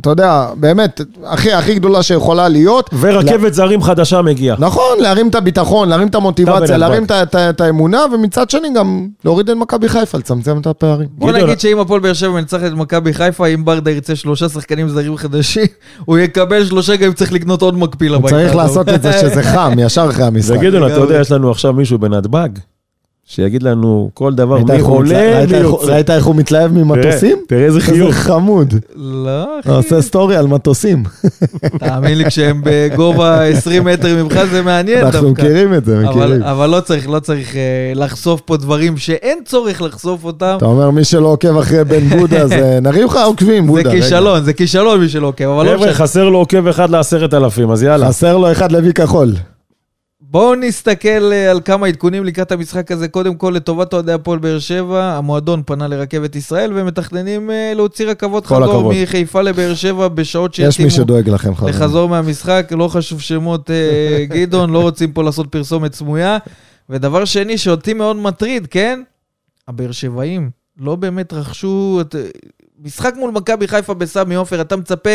Speaker 3: אתה יודע, באמת, הכי הכי גדולה שיכולה להיות.
Speaker 4: ורכבת זרים חדשה מגיעה.
Speaker 3: נכון, להרים את הביטחון, להרים את
Speaker 4: אתה
Speaker 3: המוטיבציה,
Speaker 4: בנתב"ג.
Speaker 3: להרים את ה- את ה- את האמונה, ומצד שני גם להוריד את מכבי חיפה, לצמצם את הפערים.
Speaker 2: בוא
Speaker 4: גדעון,
Speaker 2: נגיד שאם הפועל באר שבע מנצחת את מכבי חיפה, אם ברדה ירצה שלושה שחקנים זרים חדשים, הוא יקבל שלושה גם אם צריך לקנות עוד מקפיל הביתה.
Speaker 3: צריך
Speaker 2: אז הוא-
Speaker 3: לעשות את זה שזה חם, ישר אחרי המשחק.
Speaker 4: וגדעון, אתה
Speaker 2: לגמרי.
Speaker 4: יודע, יש לנו עכשיו מישהו בנתב"ג, שיגיד לנו כל דבר,
Speaker 3: ראית
Speaker 4: מי
Speaker 3: איך הוא
Speaker 4: עולה,
Speaker 3: מתלהב-
Speaker 4: מי
Speaker 3: ראית איך-
Speaker 4: יוצא.
Speaker 3: ראית איך הוא מתלהב ממטוסים?
Speaker 4: תראה, תראה איזה חיוך.
Speaker 3: איזה חמוד.
Speaker 2: לא, אחי,
Speaker 3: הוא עושה סטורי על מטוסים.
Speaker 2: כן, תאמין לי, כשהם בגובה 20 מטר ממך זה מעניין דווקא.
Speaker 3: אנחנו מכירים את זה,
Speaker 2: אבל-
Speaker 3: מכירים.
Speaker 2: אבל לא צריך, לא צריך אה, לחשוף פה דברים שאין צורך לחשוף אותם.
Speaker 3: אתה אומר, מי שלא עוקב אחרי בן בודה, זה נרים לך עוקבים,
Speaker 2: זה
Speaker 3: בודה. רגע.
Speaker 2: כישלון, זה כישלון מי שלא עוקב, אבל לא
Speaker 4: חבר'ה,
Speaker 2: משנה.
Speaker 4: חסר לו עוקב אחד לעשרת אלפים, אז יאללה.
Speaker 3: חסר לו אחד לוי כחול.
Speaker 2: בואו נסתכל אה, על כמה עדכונים לקראת המשחק הזה. קודם כל, לטובת אוהדי הפועל באר שבע, המועדון פנה לרכבת ישראל, ומתכננים אה, להוציא רכבות
Speaker 4: כל
Speaker 2: חזור
Speaker 4: הכבוד.
Speaker 2: מחיפה לבאר שבע בשעות
Speaker 3: יש מי
Speaker 2: שיתאימו
Speaker 3: שדואג לכם, חברים.
Speaker 2: לחזור מהמשחק. לא חשוב שמות אה, גדעון, לא רוצים פה לעשות פרסומת סמויה. ודבר שני שאותי מאוד מטריד, כן? הבאר שבעים לא באמת רכשו... את... אה, משחק מול מכבי חיפה בסמי עופר, אתה מצפה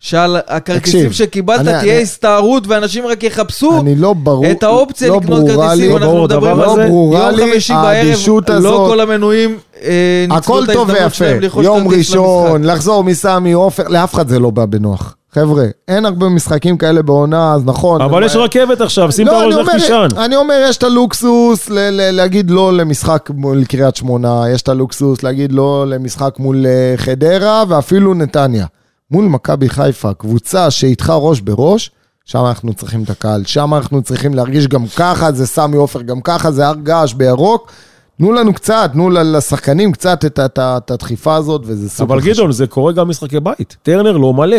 Speaker 2: שעל הכרטיסים
Speaker 3: תקשיב,
Speaker 2: שקיבלת
Speaker 3: אני-
Speaker 2: תהיה
Speaker 3: אני-
Speaker 2: הסתערות ואנשים רק יחפשו.
Speaker 3: אני לא ברור,
Speaker 2: את האופציה
Speaker 3: לא
Speaker 2: לקנות
Speaker 3: ברורה
Speaker 2: כרטיסים,
Speaker 3: לי-
Speaker 4: לא
Speaker 2: אנחנו
Speaker 4: ברור,
Speaker 2: מדברים
Speaker 4: הדבר
Speaker 2: על זה.
Speaker 4: הזה-
Speaker 3: ברורה
Speaker 2: יום
Speaker 3: לי
Speaker 2: חמישי
Speaker 3: האדישות
Speaker 2: בערב, לא
Speaker 3: הזאת.
Speaker 2: כל המנויים אה, ניצלו
Speaker 3: הכל
Speaker 2: את
Speaker 3: טוב
Speaker 2: ההזדמנות
Speaker 3: ויפה,
Speaker 2: שלהם לרכוש
Speaker 3: יום
Speaker 2: כרטיס
Speaker 3: ראשון,
Speaker 2: למשחק.
Speaker 3: לחזור מסמי עופר, לאף אחד זה לא בא בנוח. חבר'ה, אין הרבה משחקים כאלה בעונה, אז נכון.
Speaker 4: אבל יש רכבת עכשיו, שים את
Speaker 3: לא,
Speaker 4: הראש
Speaker 3: אני
Speaker 4: לך
Speaker 3: אומר-
Speaker 4: תישן.
Speaker 3: אני אומר, יש את הלוקסוס ל- ל- להגיד לא למשחק מול קריית שמונה, יש את הלוקסוס להגיד לא למשחק מול אה, חדרה, ואפילו נתניה. מול מכבי חיפה, קבוצה שאיתך ראש בראש, שם אנחנו צריכים את הקהל, שם אנחנו צריכים להרגיש גם ככה, זה סמי עופר, גם ככה זה הר געש בירוק. תנו לנו קצת, תנו ל- לשחקנים קצת את ה- את ה- את הדחיפה הזאת, וזה סופר
Speaker 4: אבל גדעון, זה קורה גם משחקי בית. טרנר לא מלא.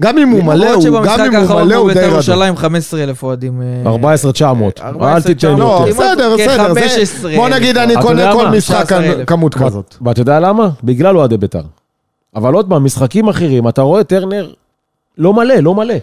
Speaker 3: גם אם הוא מלא,
Speaker 2: למרות
Speaker 3: הוא- גם
Speaker 2: שבמשחק
Speaker 3: אם הוא
Speaker 2: האחרון
Speaker 3: מלא, הוא
Speaker 2: מול
Speaker 3: די
Speaker 2: בית"ר
Speaker 3: רדום.
Speaker 2: ירושלים 15,000 אוהדים. אה,
Speaker 4: 14,900. אל
Speaker 2: 14,900.
Speaker 4: תיתן
Speaker 2: לא,
Speaker 4: יותר.
Speaker 3: לא, בסדר,
Speaker 2: כמעט
Speaker 3: בסדר. זה-
Speaker 2: כ-15,000.
Speaker 3: בוא נגיד, אני
Speaker 4: אתה
Speaker 3: קונה
Speaker 4: יודע
Speaker 3: כל
Speaker 4: מה?
Speaker 3: משחק
Speaker 2: 19,000.
Speaker 3: כמות כזאת.
Speaker 4: ואתה יודע למה? בגלל אוהדי בית"ר. אבל עוד פעם, משחקים אחרים, אתה רואה טרנר לא מלא, לא מלא.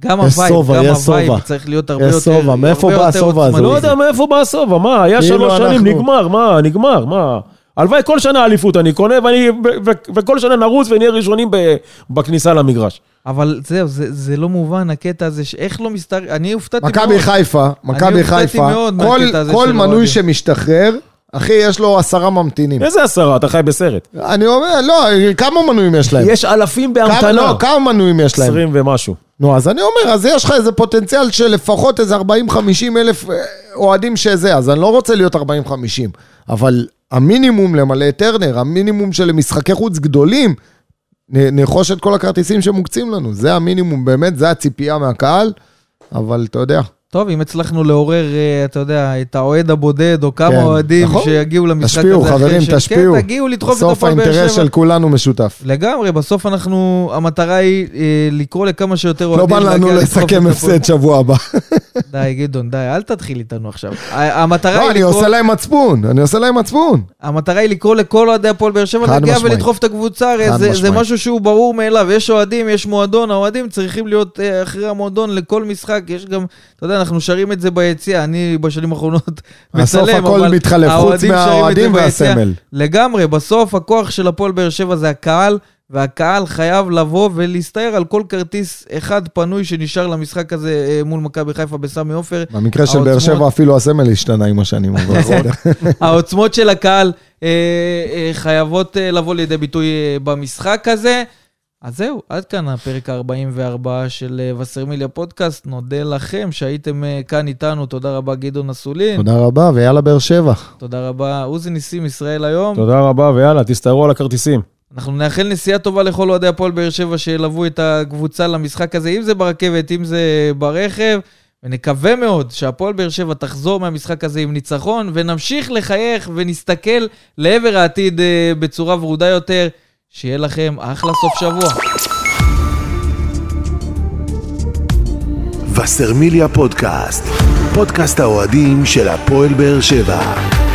Speaker 2: גם
Speaker 3: יש
Speaker 2: הווייב,
Speaker 3: סובה,
Speaker 2: גם
Speaker 3: יש
Speaker 2: הווייב
Speaker 3: סובה.
Speaker 2: צריך להיות הרבה
Speaker 3: יש
Speaker 2: יותר
Speaker 3: סובה, מאיפה
Speaker 2: הרבה
Speaker 3: בא
Speaker 2: יותר
Speaker 3: הסובה הזה?
Speaker 2: עוצמתי.
Speaker 4: לא יודע מאיפה בא הסובה, מה? היה
Speaker 3: כאילו
Speaker 4: שלוש שנים,
Speaker 3: אנחנו-
Speaker 4: נגמר, מה? נגמר, מה? הלוואי כל שנה אליפות אני קונה, ואני- ו- ו- וכל שנה נרוץ ונהיה ראשונים ב- בכניסה למגרש.
Speaker 2: אבל זהו, זה- זה לא מובן, הקטע הזה, שאיך לא מסתדר, אני הופתעתי מאוד.
Speaker 3: מכבי חיפה, מכבי
Speaker 2: הופתעתי
Speaker 3: חיפה,
Speaker 2: מאוד
Speaker 3: כל-
Speaker 2: מהקטע הזה
Speaker 3: כל
Speaker 2: של
Speaker 3: מנוי
Speaker 2: אוהדים.
Speaker 3: שמשתחרר, אחי, יש לו עשרה ממתינים.
Speaker 4: איזה עשרה? אתה חי בסרט.
Speaker 3: אני אומר, לא, כמה מנויים יש להם?
Speaker 4: יש אלפים
Speaker 3: כן. כמה,
Speaker 4: בהמתנה.
Speaker 3: לא, כמה מנויים יש להם?
Speaker 4: 20 ומשהו.
Speaker 3: נו, אז אני אומר, אז יש לך איזה פוטנציאל של לפחות איזה 40-50 אלף אה, אוהדים שזה, אז אני לא רוצה להיות 40-50, אבל המינימום למלא את טרנר, המינימום של משחקי חוץ גדולים, נ- נרכוש את כל הכרטיסים שמוקצים לנו, זה המינימום, באמת, זה הציפייה מהקהל, אבל אתה יודע,
Speaker 2: טוב, אם הצלחנו לעורר, אה, אתה יודע, את האוהד הבודד, או כמה
Speaker 3: כן,
Speaker 2: אוהדים
Speaker 3: נכון.
Speaker 2: שיגיעו למשחק הזה.
Speaker 3: תשפיעו,
Speaker 2: אחרי
Speaker 3: חברים,
Speaker 2: שהם-
Speaker 3: תשפיעו.
Speaker 2: כן, תגיעו לדחוף את
Speaker 3: בסוף
Speaker 2: הפועל באר
Speaker 3: האינטרס
Speaker 2: שבע.
Speaker 3: של כולנו משותף.
Speaker 2: לגמרי, בסוף אנחנו, המטרה היא אה, לקרוא לכמה שיותר אוהדים.
Speaker 3: לא בא לנו
Speaker 2: להגיע לדחוף
Speaker 3: לסכם
Speaker 2: את הפועל.
Speaker 3: הפסד שבוע הבא.
Speaker 2: די, גדעון, די, אל תתחיל איתנו עכשיו. ה- המטרה
Speaker 3: לא,
Speaker 2: היא
Speaker 3: אני
Speaker 2: לקרוא...
Speaker 3: עושה להם מצפון, אני עושה להם מצפון.
Speaker 2: המטרה היא לקרוא לכל אוהדי הפועל באר שבע
Speaker 3: חד
Speaker 2: להגיע
Speaker 3: משמעית.
Speaker 2: ולדחוף את הקבוצה,
Speaker 3: חד
Speaker 2: הרי זה, זה
Speaker 3: משמעית.
Speaker 2: משהו שהוא ברור מאליו, יש אוהדים, יש מועדון, האוהדים צריכים להיות אה, אחרי המועדון לכל משחק, יש גם, אתה יודע, אנחנו שרים את זה ביציע, אני בשנים האחרונות
Speaker 3: בסוף
Speaker 2: מצלם,
Speaker 3: הכל
Speaker 2: אבל
Speaker 3: מתחלף, חוץ
Speaker 2: האוהדים שרים את זה
Speaker 3: מהאוהדים
Speaker 2: ביציע.
Speaker 3: והסמל.
Speaker 2: לגמרי, בסוף הכוח של הפועל באר שבע זה הקהל, והקהל חייב לבוא ולהסתער על כל כרטיס אחד פנוי שנשאר למשחק הזה אה, מול מכבי חיפה בסמי עופר.
Speaker 3: במקרה של באר
Speaker 2: העוצמות-
Speaker 3: שבע אפילו הסמל השתנה עם השנים, אבל בסדר.
Speaker 2: העוצמות של הקהל אה, אה, חייבות אה, לבוא לידי ביטוי אה, במשחק הזה. אז זהו, עד כאן הפרק ה-44 של אה, וסרמיליה פודקאסט. נודה לכם שהייתם אה, כאן איתנו. תודה רבה, גדעון אסולין.
Speaker 3: תודה רבה, ויאללה באר שבע.
Speaker 2: תודה רבה, עוזי ניסים, ישראל היום.
Speaker 4: תודה רבה, ויאללה, תסתערו על הכרטיסים.
Speaker 2: אנחנו נאחל נסיעה טובה לכל אוהדי הפועל באר שבע שילוו את הקבוצה למשחק הזה, אם זה ברכבת, אם זה ברכב, ונקווה מאוד שהפועל באר שבע תחזור מהמשחק הזה עם ניצחון, ונמשיך לחייך ונסתכל לעבר העתיד אה, בצורה ורודה יותר. שיהיה לכם אחלה סוף שבוע.
Speaker 1: וסרמיליה פודקאסט, פודקאסט האוהדים של הפועל באר שבע.